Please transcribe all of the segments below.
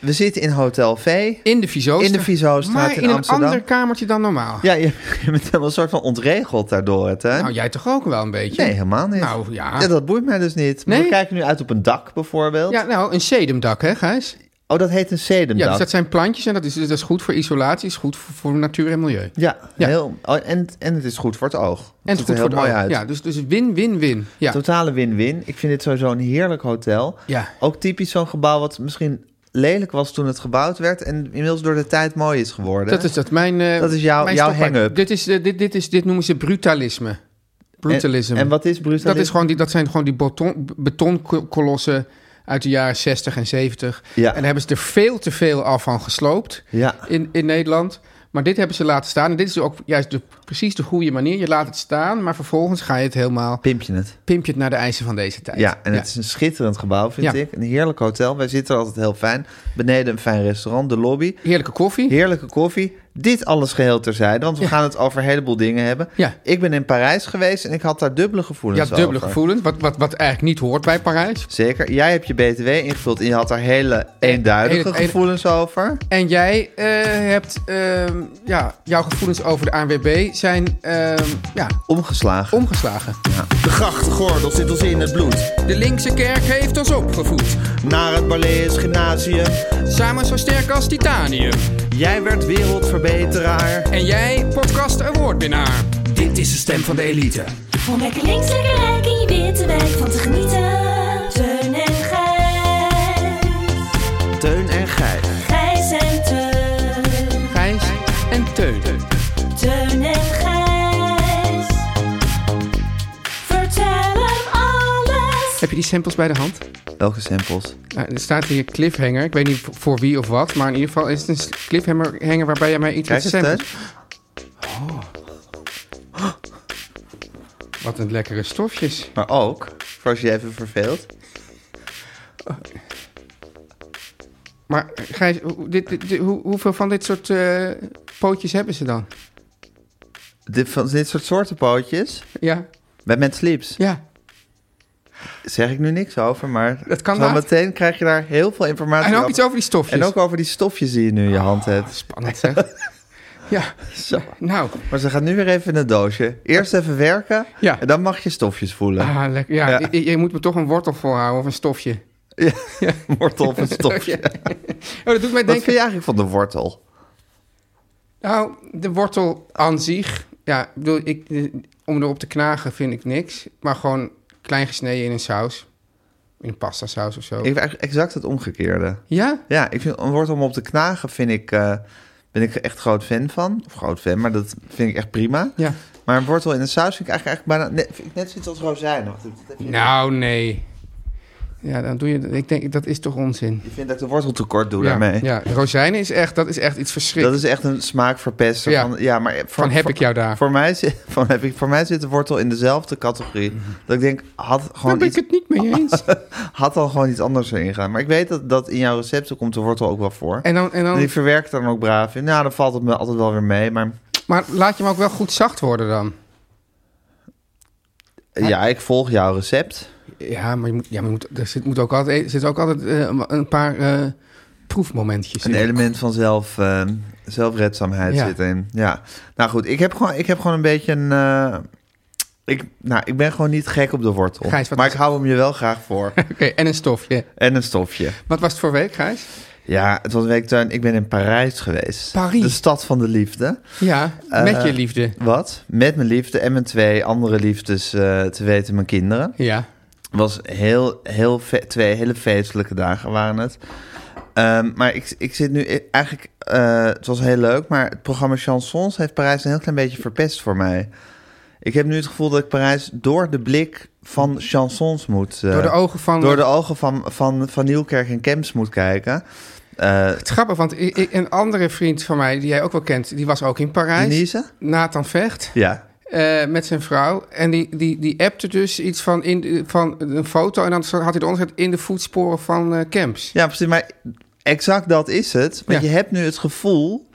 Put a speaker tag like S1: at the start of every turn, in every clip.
S1: we zitten in Hotel V.
S2: In de Vizostraat.
S1: In de Vizostraat
S2: maar
S1: in
S2: in,
S1: Amsterdam.
S2: een ander kamertje dan normaal.
S1: Ja, je, je bent helemaal een soort van ontregeld daardoor, hè, Teun?
S2: Nou, jij toch ook wel een beetje?
S1: nee, helemaal niet.
S2: Nou, ja.
S1: dat boeit mij dus niet. Maar
S2: Nee.
S1: We kijken nu uit op een dak bijvoorbeeld.
S2: Ja, nou, een sedumdak, hè, Gijs?
S1: Oh, dat heet een sedumdak.
S2: Ja, dus dat zijn plantjes en dat is, dat is goed voor isolatie, is goed voor, voor natuur en milieu.
S1: Ja,
S2: Ja.
S1: Heel, oh, en, en het is goed voor het oog.
S2: En
S1: het
S2: het
S1: ziet
S2: is goed
S1: er heel
S2: voor het
S1: mooi
S2: oog.
S1: uit.
S2: Ja, dus, dus win, win, win. Ja.
S1: Totale win-win. Ik vind dit sowieso een heerlijk hotel.
S2: Ja.
S1: Ook typisch zo'n gebouw wat misschien lelijk was toen het gebouwd werd... en inmiddels door de tijd mooi is geworden.
S2: Dat is dat mijn. eh,
S1: Dat is jouw-
S2: mijn
S1: jouw
S2: stokpaard.
S1: hang-up.
S2: Dit, is, de- dit, dit, is, dit noemen ze brutalisme. Brutalisme.
S1: En, en wat is brutalisme?
S2: Dat, is gewoon die, dat zijn gewoon die beton, betonkolossen uit de jaren 60 en 70.
S1: Ja.
S2: En daar hebben ze er veel te veel al van gesloopt
S1: Ja.
S2: in, in Nederland. Maar dit hebben ze laten staan. En dit is dus ook juist de, precies de goede manier. Je laat het staan, maar vervolgens ga je het helemaal...
S1: Pimp je het.
S2: pimp je het naar de eisen van deze tijd.
S1: Ja, en het is een schitterend gebouw, vind
S2: Ja.
S1: ik. Een heerlijk hotel. Wij zitten er altijd heel fijn. Beneden een fijn restaurant, de lobby.
S2: Heerlijke koffie.
S1: Heerlijke koffie. Dit alles geheel terzijde, want we gaan het over een heleboel dingen hebben.
S2: Ja.
S1: Ik ben in Parijs geweest en ik had daar dubbele
S2: Ja,
S1: gevoelens
S2: dubbele
S1: over.
S2: gevoelens. Wat, wat, wat eigenlijk niet hoort bij Parijs.
S1: Zeker. Jij hebt je BTW ingevuld en je had daar hele eenduidige
S2: Hele- hele-
S1: gevoelens over.
S2: En jij eh, hebt... ehm, ja, jouw gevoelens over de ANWB zijn... ehm, ja,
S1: Omgeslagen.
S2: omgeslagen.
S3: De grachtgordel zit ons in het bloed.
S2: De linkse kerk heeft ons opgevoed.
S3: Naar het Balees Gymnasium.
S2: Samen zo sterk als titanium.
S1: Jij werd wereldverbeteraar.
S2: En jij, podcast awardwinnaar.
S3: Dit is de stem van de elite.
S4: Om lekker links, lekker rijk in je witte wijk van te genieten. Teun en Gijs.
S1: Teun en Gijs.
S4: Gijs en Teun.
S2: Gijs en Teun.
S4: Teun en Gijs. Vertel hem alles.
S2: Heb je die samples bij de hand?
S1: Welke samples?
S2: Nou, er staat hier cliffhanger. Ik weet niet voor wie of wat, maar in ieder geval is het een cliffhanger hanger waarbij jij mij iets
S1: Kijk
S2: met
S1: eens,
S2: samples...
S1: Teun.
S2: Wat een lekkere stofjes.
S1: Maar ook, voor als je je even verveelt.
S2: Maar eh, Gijs, hoe- dit, dit- dit- hoe, hoeveel van dit soort eh, pootjes hebben ze dan?
S1: Dit, van dit soort soorten pootjes.
S2: Ja,
S1: Bij Mad Sleeps.
S2: ja.
S1: zeg ik nu niks over, maar
S2: Dat kan
S1: zo
S2: later.
S1: meteen krijg je daar heel veel informatie
S2: En ook
S1: over.
S2: iets over die stofjes. Ah,
S1: En ook over die stofjes die je nu in je hand hebt.
S2: Spannend zeg. ja, nou.
S1: Maar ze gaat nu weer even in het doosje. Eerst even werken
S2: Ja.
S1: en dan mag je stofjes voelen.
S2: Ah, lekker. Ja,
S1: Ja.
S2: Je, je moet me toch een wortel volhouden of een stofje.
S1: Wortel of een stofje.
S2: Oh,
S1: Wat
S2: dat doet mij
S1: vind
S2: denken...
S1: je eigenlijk van de wortel?
S2: Nou, de wortel aan zich. Ja, ik bedoel, ik, eh, om erop te knagen vind ik niks. Maar gewoon klein gesneden in een saus. In een pasta saus of zo.
S1: Ik vind eigenlijk exact het omgekeerde.
S2: Ja?
S1: Ja, ik vind een wortel om op te knagen vind ik, eh, ben ik echt groot fan van. Of groot fan, maar dat vind ik echt prima.
S2: Ja.
S1: Maar een wortel in een saus vind ik eigenlijk, eigenlijk bijna net, vind ik net zoiets als rozijnachtig. Dat heb je-
S2: Nou, nee. Ja, dan doe je... Ik denk, dat is toch onzin.
S1: Je vindt dat ik de wortel tekort doe
S2: ja,
S1: daarmee.
S2: ja, rozijnen is echt, dat is echt
S1: Dat
S2: iets verschrikkelijks.
S1: is echt een smaakverpester.
S2: Ja.
S1: Van, ja, maar voor-
S2: Van heb
S1: voor-
S2: ik jou daar.
S1: Voor mij, zit- van heb ik, voor mij zit de wortel in dezelfde categorie. Dat ik denk, had,
S2: Mhm. Daar
S1: gewoon
S2: ben
S1: iets,
S2: ik het niet mee eens.
S1: had al gewoon iets anders erin gaan. Maar ik weet dat, dat in jouw recepten komt de wortel ook wel voor. En,
S2: En dan, en dan,
S1: die verwerk ik dan ook braaf in. Nou, dan valt het me altijd wel weer mee. Maar
S2: maar laat je hem ook wel goed zacht worden dan.
S1: eh, ja, ik volg jouw recept.
S2: Ja, maar, je moet, ja, maar je moet, er zit, moet ook altijd, er zit ook altijd eh, een paar eh proefmomentjes
S1: Een
S2: in.
S1: element van zelf, eh, Zelfredzaamheid
S2: Ja.
S1: zit in. Ja. Nou goed, ik heb gewoon, ik heb gewoon een beetje een... eh, ik, nou, ik ben gewoon niet gek op de wortel.
S2: Gijs, wat
S1: maar
S2: is-
S1: ik hou hem je wel graag voor.
S2: Oké, en een stofje.
S1: en een stofje.
S2: Wat was het voor week, Gijs?
S1: Ja, het was een weektuin. Ik ben in Parijs geweest.
S2: Parijs.
S1: De stad van de liefde.
S2: Ja, met
S1: Eh,
S2: je liefde.
S1: Wat? Met mijn liefde en mijn twee andere liefdes eh, te weten mijn kinderen.
S2: Ja.
S1: Het was heel, heel fe- twee hele feestelijke dagen waren het. Ehm, maar ik, ik zit nu i- eigenlijk, eh, het was heel leuk, maar het programma Chansons heeft Parijs een heel klein beetje verpest voor mij. Ik heb nu het gevoel dat ik Parijs door de blik van chansons moet. eh,
S2: Door de ogen van-
S1: Door de ogen van, van, van Nieuwkerk en Kemps moet kijken. Eh,
S2: Het is grappig, want i- i- een andere vriend van mij, die jij ook wel kent, die was ook in Parijs.
S1: Denise?
S2: Nathan Vecht.
S1: Ja.
S2: eh, met zijn vrouw. En die, die, die appte dus iets van, in, de- van een foto. En dan had hij eronder gezet in de voetsporen van eh, Camps.
S1: ja, precies. Maar exact dat is het. Want
S2: Ja.
S1: je hebt nu het gevoel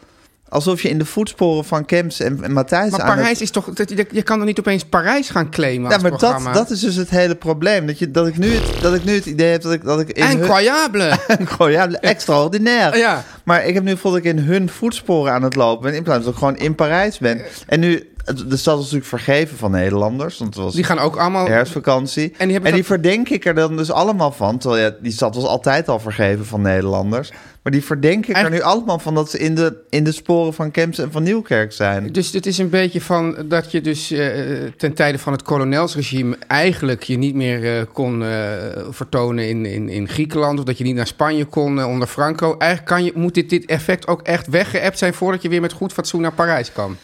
S1: alsof je in de voetsporen van Kemps en, en Matthijs
S2: Maar
S1: aan het
S2: Parijs is toch... dat- Je, je kan er niet opeens Parijs gaan claimen
S1: Ja,
S2: als
S1: maar dat,
S2: programma.
S1: dat is dus het hele probleem. Dat, je, dat, ik, nu het, dat ik nu het idee heb dat ik, dat ik in hun...
S2: Incroyable!
S1: Gewoon, ja, extraordinair.
S2: Ja.
S1: Maar ik heb nu gevoel dat ik in hun voetsporen aan het lopen ben... in plaats van dat ik gewoon in Parijs
S2: Eh.
S1: ben. En nu, het- de stad is natuurlijk vergeven van Nederlanders... want het was
S2: die gaan ook allemaal...
S1: herfstvakantie. En die,
S2: hebben dat-
S1: verdenk ik er dan dus allemaal van... terwijl ja, die stad was altijd al vergeven van Nederlanders... maar die verdenk ik er
S2: Eigenlijk-
S1: nu allemaal van... dat ze in de, in de sporen van Kemps en van Nieuwkerk zijn.
S2: Dus het is een beetje van dat je dus eh, ten tijde van het kolonelsregime eigenlijk je niet meer eh, kon eh, vertonen in, in, in Griekenland. Of dat je niet naar Spanje kon eh, onder Franco. Eigenlijk kan je, moet dit, dit effect ook echt weggeëpt zijn voordat je weer met goed fatsoen naar Parijs kan.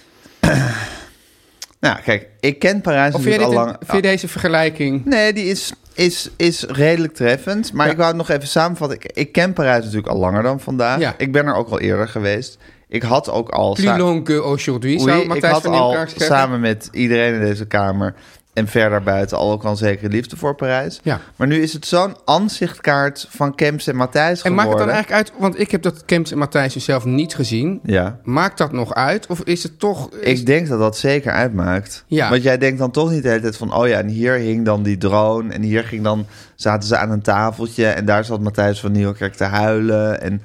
S1: Nou, kijk, ik ken Parijs
S2: Of vind je,
S1: natuurlijk
S2: dit
S1: al
S2: een-
S1: lang...
S2: vind je deze vergelijking?
S1: Nee, die is, is, is redelijk treffend. Maar
S2: Ja.
S1: ik wou het nog even samenvatten. Ik, ik ken Parijs natuurlijk al langer dan vandaag.
S2: Ja.
S1: Ik ben er ook al eerder geweest. Ik had ook al... sa-
S2: Plus long que aujourd'hui,
S1: Oui,
S2: zou
S1: ik
S2: Matthijs
S1: had
S2: van
S1: al
S2: Nieuwkerk zeggen.
S1: samen met iedereen in deze kamer... en verder buiten al ook al een zekere liefde voor Parijs.
S2: Ja.
S1: Maar nu is het zo'n aanzichtkaart van Kemps en Matthijs
S2: En
S1: geworden.
S2: maakt het dan eigenlijk uit, want ik heb dat Kemps en Matthijs dus zelf niet gezien.
S1: Ja.
S2: Maakt dat nog uit? Of is het toch... is-
S1: Ik denk dat dat zeker uitmaakt.
S2: Ja.
S1: Want jij denkt dan toch niet de hele tijd van... oh ja, en hier hing dan die drone... en hier ging dan, zaten ze aan een tafeltje... en daar zat Matthijs van Nieuwkerk te huilen. En,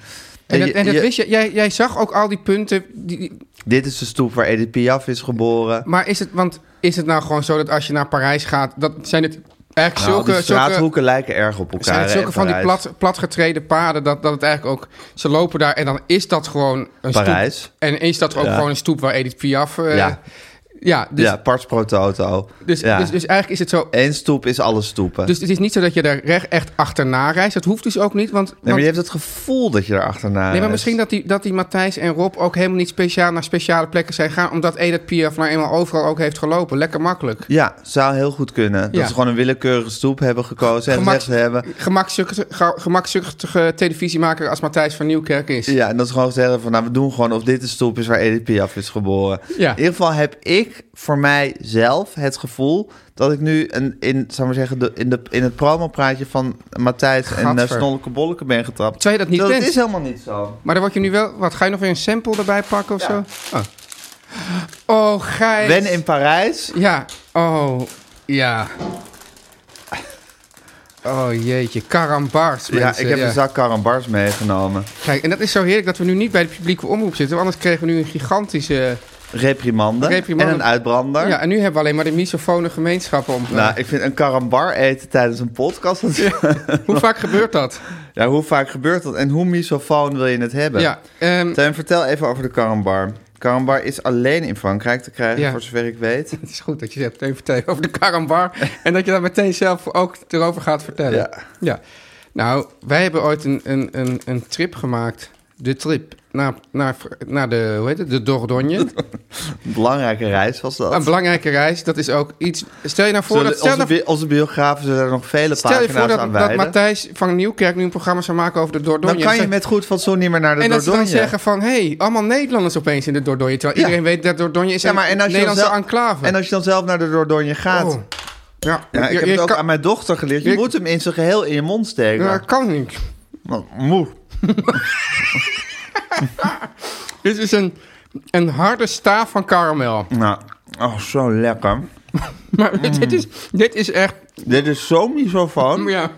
S2: en dat,
S1: je-
S2: en dat
S1: je-
S2: wist je, jij, jij zag ook al die punten, die, die-
S1: Dit is de stoep waar Edith Piaf is geboren.
S2: Maar is het, want is het nou gewoon zo dat als je naar Parijs gaat, dat zijn het
S1: Nou,
S2: eigenlijk
S1: die
S2: zulke,
S1: straathoeken
S2: zulke,
S1: lijken erg op elkaar.
S2: zijn het
S1: hè,
S2: zulke
S1: in
S2: van die
S1: Parijs.
S2: plat, platgetreden paden, dat, dat het eigenlijk ook, ze lopen daar en dan is dat gewoon een
S1: Parijs.
S2: stoep. En is dat ook
S1: Ja.
S2: gewoon een stoep waar Edith Piaf... eh,
S1: Ja.
S2: ja. dus,
S1: ja, Pars Pro Toto.
S2: Dus,
S1: ja.
S2: Dus, dus eigenlijk is het zo...
S1: Eén stoep is alle stoepen.
S2: Dus het is niet zo dat je daar recht echt achterna reist. Dat hoeft dus ook niet, want...
S1: nee, maar je hebt
S2: want-
S1: het gevoel dat je erachterna
S2: Nee, maar
S1: reist.
S2: misschien dat die, dat die Matthijs en Rob ook helemaal niet speciaal naar speciale plekken zijn gegaan... omdat Edith Piaf nou eenmaal overal ook heeft gelopen. Lekker makkelijk.
S1: Ja, zou heel goed kunnen. Dat
S2: Ja.
S1: ze gewoon een willekeurige stoep hebben gekozen... en
S2: Gemak-
S1: gezegd hebben...
S2: gemakzuchtige, ga- gemakzuchtige televisiemaker als Matthijs van Nieuwkerk is.
S1: Ja, en dat ze gewoon gezegd hebben van... nou, we doen gewoon of dit de stoep is waar Edith Piaf is geboren.
S2: Ja.
S1: In ieder geval heb ik voor mijzelf het gevoel... dat ik nu een, in, zou maar zeggen, de, in, de, in het promopraatje van Matthijs en uh,
S2: Gadver.
S1: Snolleke Bolleke ben getrapt.
S2: Terwijl je dat niet
S1: Terwijl
S2: bent.
S1: is helemaal niet zo.
S2: Maar dan word je nu wel... Wat, ga je nog weer een sample erbij pakken of
S1: Ja.
S2: zo? Oh, oh Gijs.
S1: Ben in Parijs.
S2: Ja. Oh, ja. Oh jeetje, karambars
S1: Ja,
S2: mensen,
S1: ik heb een zak karambars meegenomen.
S2: Kijk, en dat is zo heerlijk dat we nu niet bij de publieke omroep zitten. want Anders kregen we nu een gigantische...
S1: Reprimande.
S2: Reprimande.
S1: En een uitbrander.
S2: Ja, en nu hebben we alleen maar de misofone gemeenschappen om...
S1: Nou, ik vind een karambar eten tijdens een podcast... dat-
S2: Hoe vaak gebeurt dat?
S1: ja, hoe vaak gebeurt dat? En hoe misofoon wil je het hebben?
S2: Ja, ehm,
S1: Teun, vertel even over de karambar. Karambar is alleen in Frankrijk te krijgen,
S2: Ja.
S1: voor zover ik weet.
S2: Het is goed dat je het hebt even vertellen over de karambar. en dat je daar meteen zelf ook erover gaat vertellen.
S1: Ja.
S2: Nou, wij hebben ooit een, een, een, een trip gemaakt. De trip naar, naar, naar de, hoe heet het? De Dordogne.
S1: Een belangrijke reis was dat.
S2: Een belangrijke reis. Dat is ook iets... Stel je nou voor
S1: Zullen-
S2: dat... Stel,
S1: onze,
S2: nou-
S1: bi- onze biografen zullen er nog vele
S2: stel je
S1: pagina's
S2: voor
S1: aan
S2: dat, dat
S1: wijden.
S2: Matthijs van Nieuwkerk nu een programma zou maken over de Dordogne.
S1: dan kan je met goed fatsoen niet meer naar de
S2: en dat ze dan
S1: Dordogne.
S2: zeggen van... Hé, hey, allemaal Nederlanders opeens in de Dordogne. Terwijl
S1: Ja.
S2: iedereen weet dat Dordogne is
S1: Ja, maar
S2: een
S1: en als je dan
S2: Nederlandse
S1: zelf-
S2: enclave.
S1: En als je dan zelf naar de Dordogne gaat...
S2: Oh. Ja,
S1: Ja, ik
S2: je-
S1: heb
S2: je
S1: het ook
S2: kan-
S1: aan mijn dochter geleerd. Je,
S2: je-
S1: moet hem in zijn geheel in je mond steken.
S2: Ja, kan niet.
S1: Nou, moe.
S2: Dit is een, een harde staaf van karamel.
S1: Nou, oh, zo lekker.
S2: Maar
S1: Mm.
S2: dit, dit is, dit is echt...
S1: Dit is zo misofoon.
S2: Ja.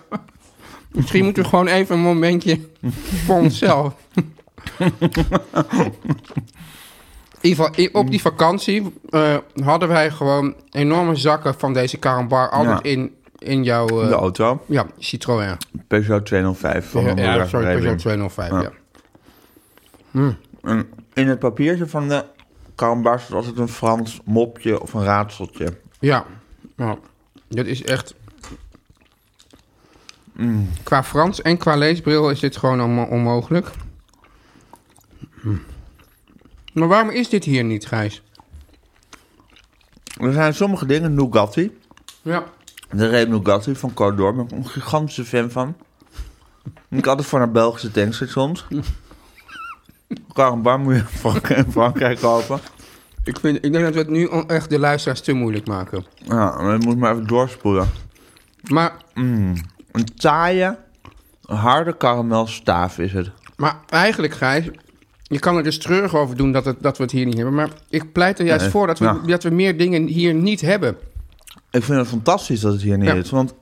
S2: Misschien moeten we gewoon even een momentje voor onszelf. In ieder geval, i- op die vakantie eh, hadden wij gewoon enorme zakken van deze carambar altijd
S1: Ja.
S2: in, in jouw eh,
S1: De auto.
S2: ja, Citroën.
S1: Peugeot 205 van
S2: Ja,
S1: de ja,
S2: sorry, Peugeot 205, ja.
S1: En in het papiertje van de karambar zat altijd een Frans mopje of een raadseltje.
S2: Ja, nou, dit is echt...
S1: Mm.
S2: Qua Frans en qua leesbril is dit gewoon onmo- onmogelijk. Hm. Maar waarom is dit hier niet, Gijs?
S1: Er zijn sommige dingen, Nougatti.
S2: Ja,
S1: De reep Nougatti van Côte d'Or, ben ik een gigantische fan van. Ik altijd voor naar Belgische tankstations. Karambar moet je in Frank- in Frankrijk kopen.
S2: ik, vind, ik denk dat we het nu on- echt de luisteraars te moeilijk maken.
S1: Ja, je moet maar even doorspoelen.
S2: Maar,
S1: Een taaie, harde karamelstaaf is het.
S2: maar eigenlijk, Gijs, je kan er dus treurig over doen dat, het, dat we het hier niet hebben. Maar ik pleit er juist
S1: Nee,
S2: voor dat we,
S1: ja.
S2: dat we meer dingen hier niet hebben.
S1: Ik vind het fantastisch dat het hier niet
S2: Ja.
S1: is. Want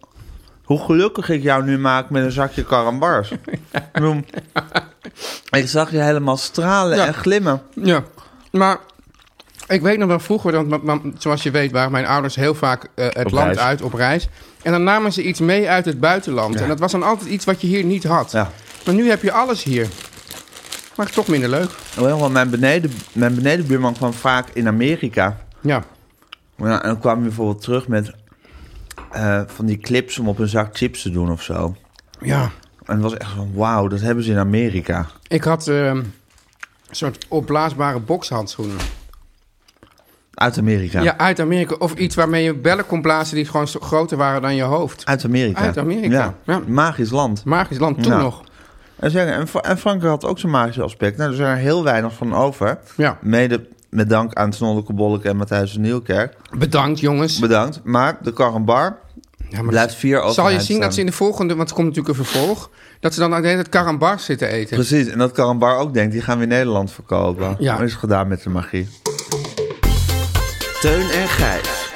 S1: hoe gelukkig ik jou nu maak met een zakje karambars. Ik bedoel, ik zag je helemaal stralen
S2: Ja.
S1: en glimmen.
S2: Ja, maar ik weet nog wel vroeger, want m- m- zoals je weet waren mijn ouders heel vaak eh, het
S1: Op
S2: land
S1: reis.
S2: uit op reis. En dan namen ze iets mee uit het buitenland. En dat was dan altijd iets wat je hier niet had.
S1: Ja.
S2: Maar nu heb je alles hier. Maar het is toch minder leuk.
S1: Wel, Oh Want mijn, beneden, mijn benedenbuurman kwam vaak in Amerika.
S2: Ja,
S1: Ja, en dan kwam hij bijvoorbeeld terug met eh, van die clips om op een zak chips te doen of zo.
S2: ja.
S1: En het was echt van, wauw, dat hebben ze in Amerika.
S2: Ik had ehm, een soort opblaasbare bokshandschoenen.
S1: Uit Amerika.
S2: Ja. uit Amerika. Of iets waarmee je bellen kon blazen die gewoon zo- groter waren dan je hoofd.
S1: Uit Amerika.
S2: Uit Amerika, ja.
S1: Magisch land.
S2: Magisch land toen
S1: Ja.
S2: nog.
S1: En, zeggen, en, Fra- en Frankrijk had ook zijn magische aspect. Nou, er zijn er heel weinig van over.
S2: Ja.
S1: Mede met dank aan Snolle Kobolk en Matthijs van Nieuwkerk.
S2: Bedankt jongens.
S1: Bedankt. Maar de karambar
S2: Ja, maar
S1: blijft vier over.
S2: Zal je zien dat ze in de volgende, want er komt natuurlijk een vervolg, dat ze dan aan het karambar zitten eten.
S1: Precies. En dat karambar ook denkt, die gaan we in Nederland verkopen.
S2: Ja.
S1: Dat is gedaan met de magie.
S3: Teun en Gijs.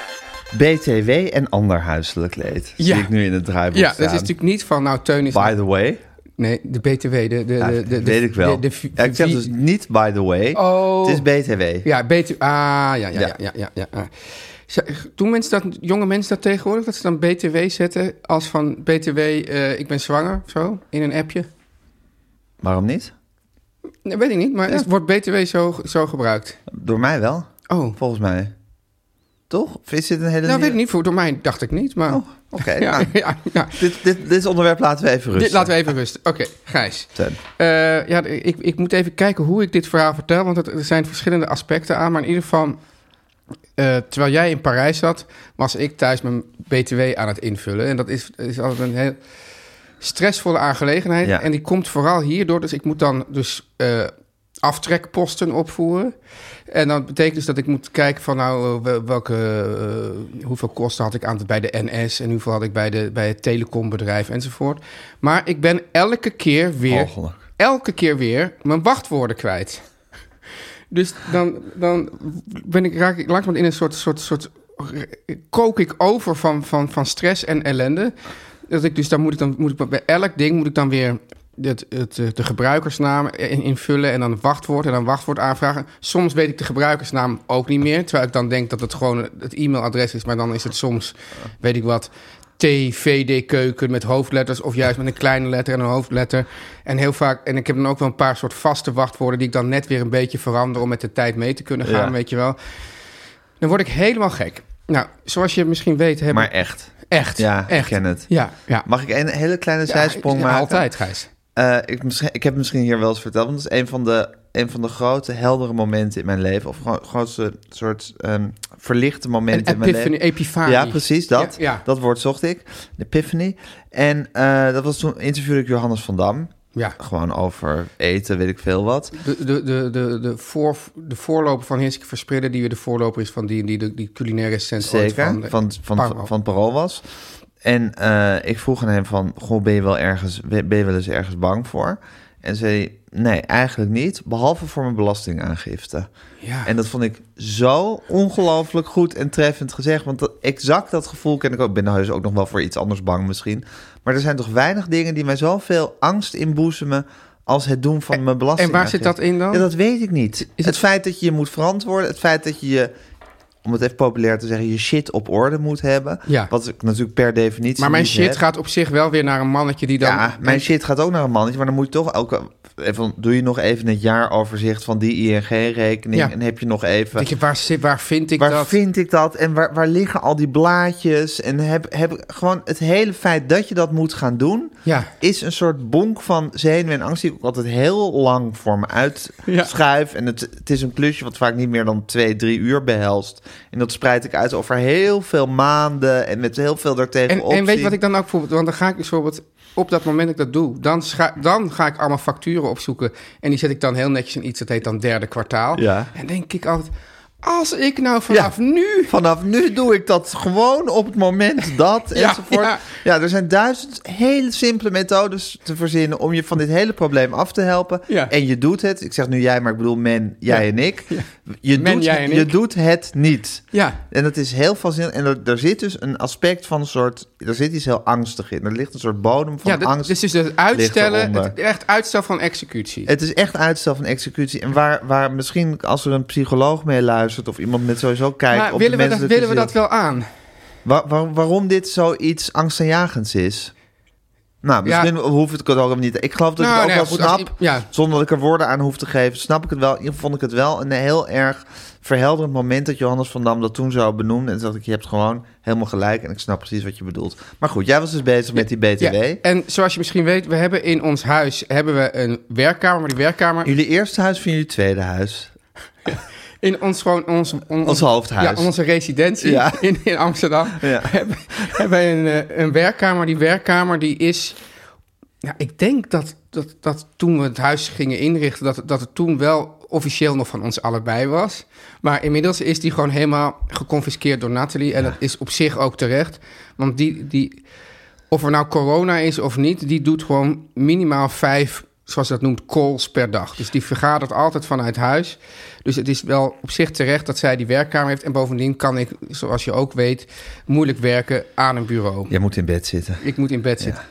S1: BTW en ander huiselijk leed.
S2: Ja.
S1: Zie ik nu in het draaiboek
S2: ja, dat
S1: staan.
S2: is natuurlijk niet van, nou Teun is...
S1: By the way.
S2: Nee, de BTW, de... de,
S1: Ja,
S2: de, de- de-
S1: weet ik wel.
S2: de- de-
S1: Ja, ik zeg
S2: de-
S1: dus niet by the way.
S2: Oh.
S1: Het is BTW.
S2: Ja, BTW, ah, ja, ja, ja,
S1: Ja.
S2: ja, ja, ja. Z- Doen mensen dat, jonge mensen dat tegenwoordig, dat ze dan BTW zetten als van BTW, eh, ik ben zwanger, of zo, in een appje?
S1: Waarom niet?
S2: Nee, weet ik niet, maar is- wordt BTW zo, zo gebruikt?
S1: Door mij wel.
S2: Oh,
S1: Volgens mij. Toch? Of is dit een hele
S2: nou
S1: nieuwe-
S2: weet ik niet, voor, door mij dacht ik niet, maar...
S1: Oh, oké.
S2: ja,
S1: nou,
S2: ja, ja.
S1: dit, dit, dit onderwerp laten we even rusten.
S2: Dit laten we even rusten. Oké, Gijs.
S1: Teun.
S2: Eh, ja, ik, ik moet even kijken hoe ik dit verhaal vertel, want het- er zijn verschillende aspecten aan. Maar in ieder geval, eh, terwijl jij in Parijs zat, was ik thuis mijn BTW aan het invullen. En dat is, is altijd een heel stressvolle aangelegenheid.
S1: Ja.
S2: En die komt vooral hierdoor. Dus ik moet dan dus eh, aftrekposten opvoeren. En dat betekent dus dat ik moet kijken van nou, eh, wel- welke, eh, hoeveel kosten had ik aan, bij de NS en hoeveel had ik bij, de, bij het telecombedrijf enzovoort. Maar ik ben elke keer weer,
S1: Mogelijk.
S2: elke keer weer mijn wachtwoorden kwijt. Dus dan, dan ben ik, raak ik langzaam in een soort, soort, soort kook ik over van, van, van stress en ellende. Dat ik dus dan moet ik dan moet ik bij elk ding moet ik dan weer het, het, eh, de gebruikersnaam in- invullen en dan een wachtwoord en dan een wachtwoord aanvragen. Soms weet ik de gebruikersnaam ook niet meer, terwijl ik dan denk dat het gewoon het e-mailadres is, maar dan is het soms weet ik wat. TVD keuken met hoofdletters of juist met een kleine letter en een hoofdletter. En heel vaak, en ik heb dan ook wel een paar soort vaste wachtwoorden die ik dan net weer een beetje verander om met de tijd mee te kunnen gaan,
S1: Ja.
S2: weet je wel. Dan word ik helemaal gek. Nou, zoals je misschien weet, heb
S1: Maar
S2: ik
S1: echt.
S2: echt,
S1: Ja, ik
S2: echt.
S1: ken het.
S2: Ja, ja.
S1: Mag ik een hele kleine
S2: Ja,
S1: zijsprong
S2: ja,
S1: maken?
S2: Altijd, Gijs.
S1: Eh, ik, misschien, ik heb het misschien hier wel eens verteld, want het is een van de, een van de grote heldere momenten in mijn leven. Of gro- grootste soort ehm, verlichte
S2: Een
S1: momenten in mijn
S2: epiphany,
S1: leven.
S2: epifanie.
S1: Ja, precies dat.
S2: Ja, ja.
S1: Dat woord zocht ik. De epiphany. En eh, dat was toen interviewde ik Johannes van Dam.
S2: Ja.
S1: Gewoon over eten, weet ik veel wat.
S2: De, de, de, de, de, voor, de voorloper van Hiske Verspreiden, die weer de voorloper is van die, die, die, die culinaire cent ooit
S1: Zeker, van,
S2: de-
S1: van, van,
S2: Parma.
S1: van, Parool was. En eh, ik vroeg aan hem van, goh, ben je wel ergens, ben ben je wel eens ergens bang voor? En zei hij, nee, eigenlijk niet, behalve voor mijn belastingaangifte.
S2: Ja.
S1: En dat vond ik zo ongelooflijk goed en treffend gezegd. Want dat, exact dat gevoel ken ik ook. Ik ben nou heus ook nog wel voor iets anders bang misschien. Maar er zijn toch weinig dingen die mij zoveel angst inboezemen als het doen van
S2: En-
S1: mijn belasting.
S2: en waar zit dat in dan?
S1: Ja, dat weet ik niet.
S2: het-
S1: het... feit dat je je moet verantwoorden, het feit dat je je, om het even populair te zeggen, je shit op orde moet hebben.
S2: Ja.
S1: Wat ik natuurlijk per definitie.
S2: Maar mijn
S1: niet
S2: shit
S1: heb.
S2: gaat op zich wel weer naar een mannetje die dan...
S1: Ja, mijn shit gaat ook naar een mannetje, maar dan moet je toch elke. Even, doe je nog even het jaaroverzicht van die ING-rekening
S2: Ja.
S1: en heb je nog even.
S2: Denk je, waar, zit, waar vind ik
S1: Waar
S2: dat?
S1: vind ik dat en waar, waar liggen al die blaadjes? En heb, heb gewoon het hele feit dat je dat moet gaan doen,
S2: Ja.
S1: is een soort bonk van zenuwen en angst die ik ook altijd heel lang voor me uitschuif. En het, het is een klusje wat vaak niet meer dan twee, drie uur behelst. En dat spreid ik uit over heel veel maanden en met heel veel daartegen
S2: En,
S1: opzien.
S2: en weet je wat ik dan ook bijvoorbeeld... Want dan ga ik dus bijvoorbeeld op dat moment dat ik dat doe... Dan, scha- dan ga ik allemaal facturen opzoeken. En die zet ik dan heel netjes in iets dat heet dan derde kwartaal.
S1: Ja.
S2: En denk ik altijd... Als ik nou vanaf nu...
S1: Vanaf nu doe ik dat gewoon op het moment dat
S2: Ja,
S1: enzovoort.
S2: ja.
S1: Ja. er zijn duizend hele simpele methodes te verzinnen om je van dit hele probleem af te helpen.
S2: Ja.
S1: En je doet het. Ik zeg nu jij, maar ik bedoel men, jij
S2: Ja.
S1: en ik. Je,
S2: Men,
S1: doet,
S2: jij en
S1: je
S2: ik.
S1: doet het niet.
S2: Ja.
S1: En dat is heel fascinerend. En er, er zit dus een aspect van een soort... Er zit iets heel angstig in. Er ligt een soort bodem van
S2: Ja, dat,
S1: angst.
S2: dus het is het
S1: ligt
S2: uitstellen,
S1: eronder.
S2: het, echt uitstel van executie.
S1: Het is echt uitstel van executie. En waar, waar misschien als er een psycholoog mee luistert... of iemand met sowieso kijkt
S2: maar
S1: op
S2: willen,
S1: de
S2: we dat,
S1: menselijke
S2: willen we
S1: ziel.
S2: dat wel aan?
S1: Wa- waar- waarom dit zoiets angstaanjagends is? Nou, misschien hoef ik het ook niet. Ik geloof dat
S2: Nou,
S1: ik het
S2: nou ja,
S1: ook
S2: goed,
S1: wel
S2: als
S1: snap,
S2: i- ja.
S1: zonder dat ik er woorden aan hoef te geven. Snap ik het wel. In ieder geval vond ik het wel een heel erg verhelderend moment... dat Johannes van Dam dat toen zo benoemde. En toen dacht ik, je hebt gewoon helemaal gelijk... en ik snap precies wat je bedoelt. Maar goed, jij was dus bezig met die BTW.
S2: Ja, en zoals je misschien weet, we hebben in ons huis hebben we een werkkamer. Maar die werkkamer
S1: Jullie eerste huis van jullie tweede huis.
S2: in ons gewoon ons, on-
S1: Ons hoofdhuis.
S2: Ja, onze residentie
S1: Ja.
S2: in, in Amsterdam.
S1: Ja.
S2: Hebben, hebben wij een, eh, een werkkamer. Die werkkamer die is. Ja, ik denk dat, dat, dat toen we het huis gingen inrichten, dat, dat het toen wel officieel nog van ons allebei was. Maar inmiddels is die gewoon helemaal geconfiskeerd door Nathalie. En dat is op zich ook terecht. Want die, die, of er nou corona is of niet, die doet gewoon minimaal vijf, zoals ze dat noemt, calls per dag. Dus die vergadert altijd vanuit huis. Dus het is wel op zich terecht dat zij die werkkamer heeft. En bovendien kan ik, zoals je ook weet, moeilijk werken aan een bureau.
S1: Jij moet in bed zitten.
S2: Ik moet in bed zitten.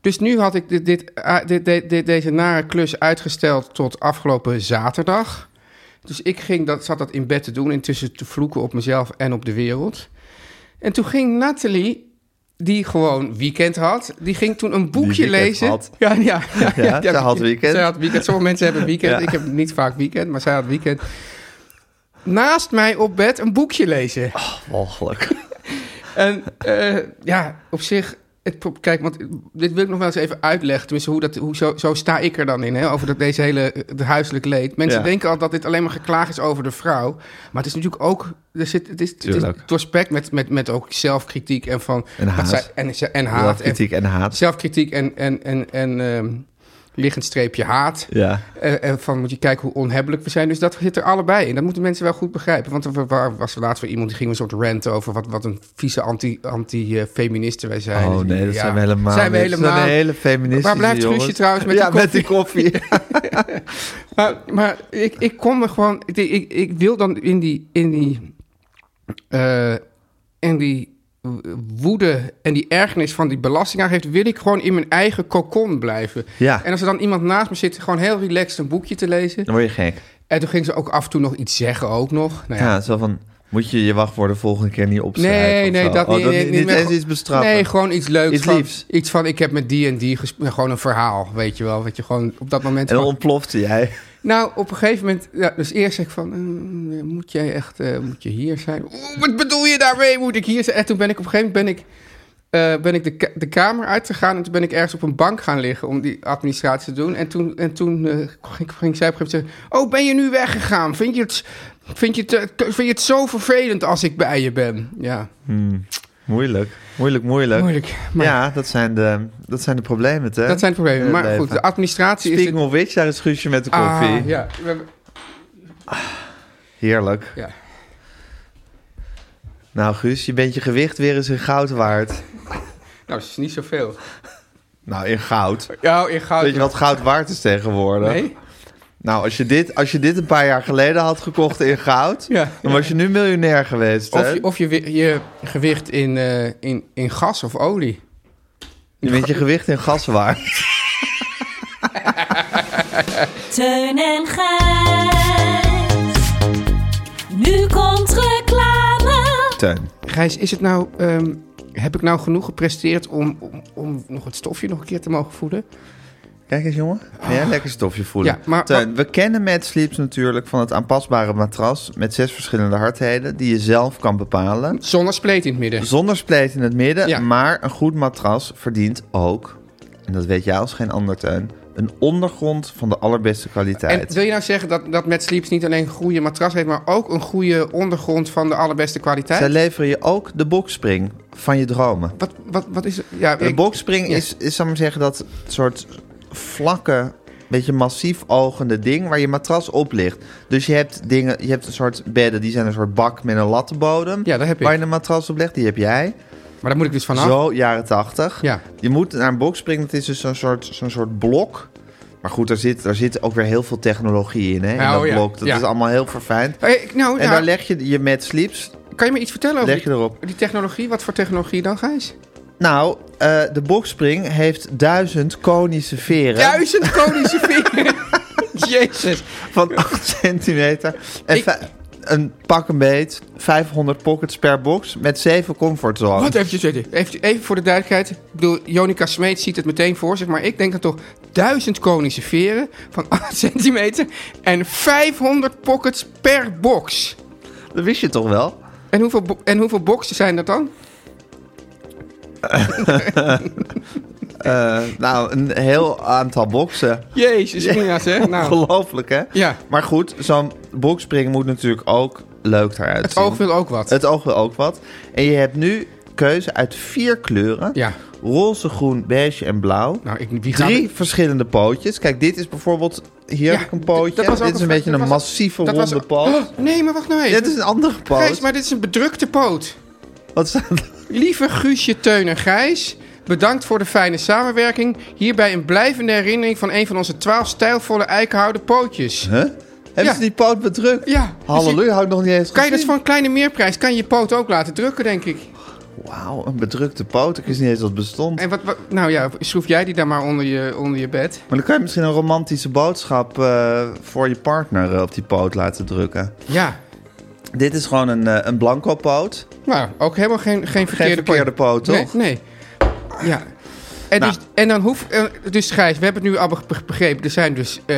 S2: Dus nu had ik dit, dit, ah, dit, dit- dit- deze nare klus uitgesteld tot afgelopen zaterdag. Dus ik ging dat, zat dat in bed te doen, intussen te vloeken op mezelf en op de wereld. En toen ging Nathalie, die gewoon weekend had, die ging toen een boekje
S1: weekend
S2: lezen.
S1: had.
S2: Ja, ja, ja,
S1: Ja, zij had weekend.
S2: Zij had weekend. Sommige mensen hebben weekend.
S1: Ja.
S2: Ik heb niet vaak weekend, maar zij had weekend. Naast mij op bed een boekje lezen. Oh,
S1: Mogelijk.
S2: En eh, ja, op zich. Het, pro- kijk, want dit wil ik nog wel eens even uitleggen. Tenminste, hoe dat, hoe, zo, zo sta ik er dan in, hè? over dat deze hele eh, de huiselijk leed. Mensen
S1: Ja.
S2: denken al dat dit alleen maar geklaag is over de vrouw. Maar het is natuurlijk ook. Er zit, het is, het is
S1: Tuurlijk.
S2: doorspekt met, met, met ook zelfkritiek en van.
S1: En
S2: wat
S1: haat.
S2: zij- en, ze- en haat. en-
S1: Kritiek en haat.
S2: zelfkritiek en, en, en, en ehm, liggend streepje haat.
S1: Ja.
S2: En, en Eh, van moet je kijken hoe onhebbelijk we zijn. Dus dat zit er allebei in. Dat moeten mensen wel goed begrijpen. Want er wa- was er laatst weer iemand die ging een soort rant over wat, wat een vieze anti- anti-feministen wij zijn.
S1: Oh nee, dat
S2: Ja.
S1: zijn we helemaal
S2: Zijn we
S1: niet. Dat
S2: helemaal.
S1: zijn hele feministische
S2: Waar blijft
S1: jongens.
S2: Guusje trouwens met
S1: ja,
S2: die
S1: met die koffie?
S2: Maar, maar ik, ik kom er gewoon. Ik, ik, ik wil dan in die. In die, eh, in die woede en die ergernis van die belastingaangifte... wil ik gewoon in mijn eigen kokon blijven.
S1: Ja.
S2: En als er dan iemand naast me zit... gewoon heel relaxed een boekje te lezen.
S1: Dan word je gek.
S2: En toen ging ze ook af en toe nog iets zeggen ook nog. Nou ja,
S1: Ja, zo van... Moet je je wachtwoorden volgende keer niet opschrijven?
S2: Nee,
S1: of
S2: nee,
S1: zo?
S2: dat
S1: Oh,
S2: niet. nee,
S1: niet,
S2: niet
S1: niet
S2: meer
S1: eens
S2: gewoon-
S1: iets bestraffen.
S2: Nee, gewoon iets leuks.
S1: Iets
S2: van,
S1: liefs.
S2: Iets van, ik heb met die en die gesproken. Gewoon een verhaal, weet je wel. Wat je gewoon op dat moment...
S1: En dan
S2: gewoon-
S1: ontplofte jij.
S2: Nou, op een gegeven moment... Ja, dus eerst zeg ik van, eh, moet jij echt eh, moet je hier zijn? Oeh, wat bedoel je daarmee? Moet ik hier zijn? En toen ben ik op een gegeven moment ben ik, eh, ben ik de, ka- de kamer uitgegaan... en toen ben ik ergens op een bank gaan liggen om die administratie te doen. En toen, en toen eh, ging, ging zij op een gegeven moment zeggen... Oh, ben je nu weggegaan? Vind je het... Vind je, het, eh, vind je het zo vervelend als ik bij je ben? Ja,
S1: Hmm. Moeilijk. Moeilijk, moeilijk.
S2: moeilijk. Maar
S1: Eh, ja, dat zijn, de, dat zijn de problemen, hè? Eh,
S2: Dat zijn de problemen.
S1: In het
S2: Maar goed,
S1: leven.
S2: de administratie is...
S1: Speaking
S2: het-
S1: of which, daar is Guusje met de
S2: Ah,
S1: koffie.
S2: ja, we hebben-
S1: Heerlijk.
S2: ja.
S1: Nou, Guus, je bent je gewicht weer eens in goud waard.
S2: Nou, dat is niet zoveel.
S1: Nou, in goud.
S2: Ja, in goud.
S1: Weet je wat goud waard is tegenwoordig?
S2: Nee?
S1: Nou, als je, dit, als je dit een paar jaar geleden had gekocht in goud...
S2: Ja.
S1: dan was je nu miljonair geweest, hè?
S2: Of, je, of je, wi- je gewicht in, eh, in, in gas of olie.
S1: Je bent je gewicht in gas waard.
S4: Teun en Gijs. Nu komt reclame.
S1: Teun.
S2: Gijs, is het nou, ehm, heb ik nou genoeg gepresteerd om, om, om nog het stofje nog een keer te mogen voeden?
S1: Kijk eens, jongen. Ja, lekker stofje voelen.
S2: Ja, maar-
S1: Teun, we kennen Mad Sleeps natuurlijk van het aanpasbare matras met zes verschillende hardheden die je zelf kan bepalen.
S2: Zonder spleet in het midden.
S1: Zonder spleet in het midden,
S2: Ja.
S1: maar een goed matras verdient ook, en dat weet jij als geen ander, Teun, een ondergrond van de allerbeste
S2: En
S1: kwaliteit.
S2: wil je nou zeggen dat, dat Mad Sleeps niet alleen een goede matras heeft, maar ook een goede ondergrond van de allerbeste kwaliteit?
S1: Zij leveren je ook de boxspring van je dromen.
S2: Wat, wat, wat is het? Ja,
S1: De
S2: ik-
S1: boxspring
S2: ja.
S1: is, is, zal ik maar zeggen, dat soort vlakke, beetje massief ogende ding waar je matras op ligt. Dus je hebt dingen, je hebt een soort bedden, die zijn een soort bak met een lattenbodem.
S2: Ja, dat heb ik.
S1: Waar je een matras op legt, die heb jij.
S2: Maar daar moet ik dus vanaf.
S1: Zo, jaren tachtig.
S2: Ja.
S1: Je moet naar een boxspring, dat is dus zo'n soort, zo'n soort blok. Maar goed, daar zit, daar zit ook weer heel veel technologie in, hè, in
S2: Oh,
S1: dat
S2: ja.
S1: blok. Dat
S2: Ja.
S1: is allemaal heel verfijnd.
S2: Hey, nou,
S1: En
S2: nou,
S1: daar leg je je met sleeps,
S2: kan je me iets vertellen over
S1: leg je
S2: die-
S1: erop.
S2: die technologie? Wat voor technologie dan, Gijs?
S1: Nou, eh, de boxspring heeft duizend konische veren.
S2: Duizend konische veren. Jezus.
S1: van 8 centimeter. En
S2: Ik-
S1: fi- een pak een beet, 500 pockets per box met 7 comfortzones.
S2: Wat eventjes zitten. Even, even voor de duidelijkheid. Ik bedoel, Jonica Smeet ziet het meteen voor zich. Maar ik denk dan toch duizend konische veren van 8 centimeter. En 500 pockets per box.
S1: Dat wist je toch wel?
S2: En hoeveel, bo- en hoeveel boxen zijn dat dan?
S1: Eh, nou, een heel aantal boxen.
S2: Jezus, Mina's, hè? Nou,
S1: Ongelooflijk, hè?
S2: Ja.
S1: Maar goed, zo'n boxspring moet natuurlijk ook leuk eruit
S2: het
S1: zien.
S2: oog wil ook wat.
S1: Het oog wil ook wat. En je hebt nu keuze uit vier kleuren.
S2: Ja.
S1: Roze, groen, beige en blauw.
S2: Nou, ik, wie gaat...
S1: Drie verschillende pootjes. Kijk, dit is bijvoorbeeld... Hier
S2: Ja,
S1: heb ik een pootje.
S2: d- dat was ook
S1: dit is een
S2: een-
S1: beetje
S2: dat
S1: een
S2: was-
S1: massieve
S2: dat was-
S1: ronde poot.
S2: Oh, nee, maar wacht nou even.
S1: Dit is een andere poot.
S2: Gijs, maar dit is een bedrukte poot.
S1: Wat staat er?
S2: Lieve Guusje, Teun en Gijs, bedankt voor de fijne samenwerking. Hierbij een blijvende herinnering van een van onze twaalf stijlvolle eikenhouden pootjes.
S1: Huh? Hebben
S2: Ja.
S1: ze die poot bedrukt?
S2: Ja.
S1: Halleluja, hou ik nog niet eens
S2: Kan je dat
S1: gezien.
S2: voor een kleine meerprijs, kan je je poot ook laten drukken, denk ik.
S1: Wauw, een bedrukte poot. Ik wist niet eens dat het bestond.
S2: En wat, wat- nou ja, schroef jij die dan maar onder je, onder je bed.
S1: Maar dan kan je misschien een romantische boodschap eh, voor je partner eh, op die poot laten drukken.
S2: Ja,
S1: Dit is gewoon een, eh, een blanco poot.
S2: nou, ook helemaal geen, geen verkeerde,
S1: verkeerde poot, toch?
S2: Nee, nee. Ja. En,
S1: Nou.
S2: dus, en dan hoef... eh, Dus Gijs, we hebben het nu al be- begrepen. Er zijn dus eh,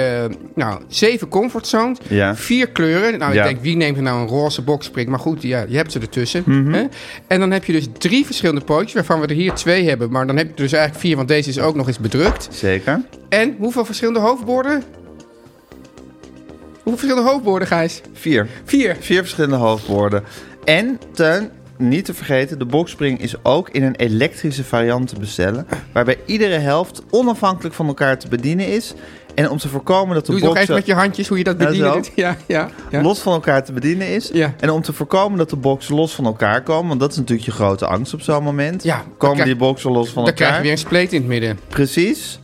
S2: nou, zeven comfortzones.
S1: Ja.
S2: Vier kleuren. Nou,
S1: Ja.
S2: ik denk, wie neemt er nou een roze boxspring? Maar goed, ja, je hebt ze ertussen.
S1: Mhm.
S2: hè? En dan heb je dus drie verschillende pootjes... waarvan we er hier twee hebben. Maar dan heb je er dus eigenlijk vier... want deze is ook nog eens bedrukt.
S1: Zeker.
S2: En hoeveel verschillende hoofdborden? Hoeveel verschillende hoofdborden, Gijs?
S1: Vier.
S2: Vier.
S1: Vier verschillende hoofdwoorden. En, Teun, niet te vergeten, de boxspring is ook in een elektrische variant te bestellen. Waarbij iedere helft onafhankelijk van elkaar te bedienen is. En om te voorkomen dat de
S2: Doe je nog
S1: boxen...
S2: even met je handjes hoe je dat
S1: Ja, zo.
S2: bedient. Ja, ja, ja.
S1: los van elkaar te bedienen is.
S2: Ja.
S1: En om te voorkomen dat de boxen los van elkaar komen, want dat is natuurlijk je grote angst op zo'n moment.
S2: Ja,
S1: komen
S2: dan krijg-
S1: die boxen los van
S2: Dan krijg je
S1: elkaar?
S2: weer een spleet in het midden.
S1: Precies.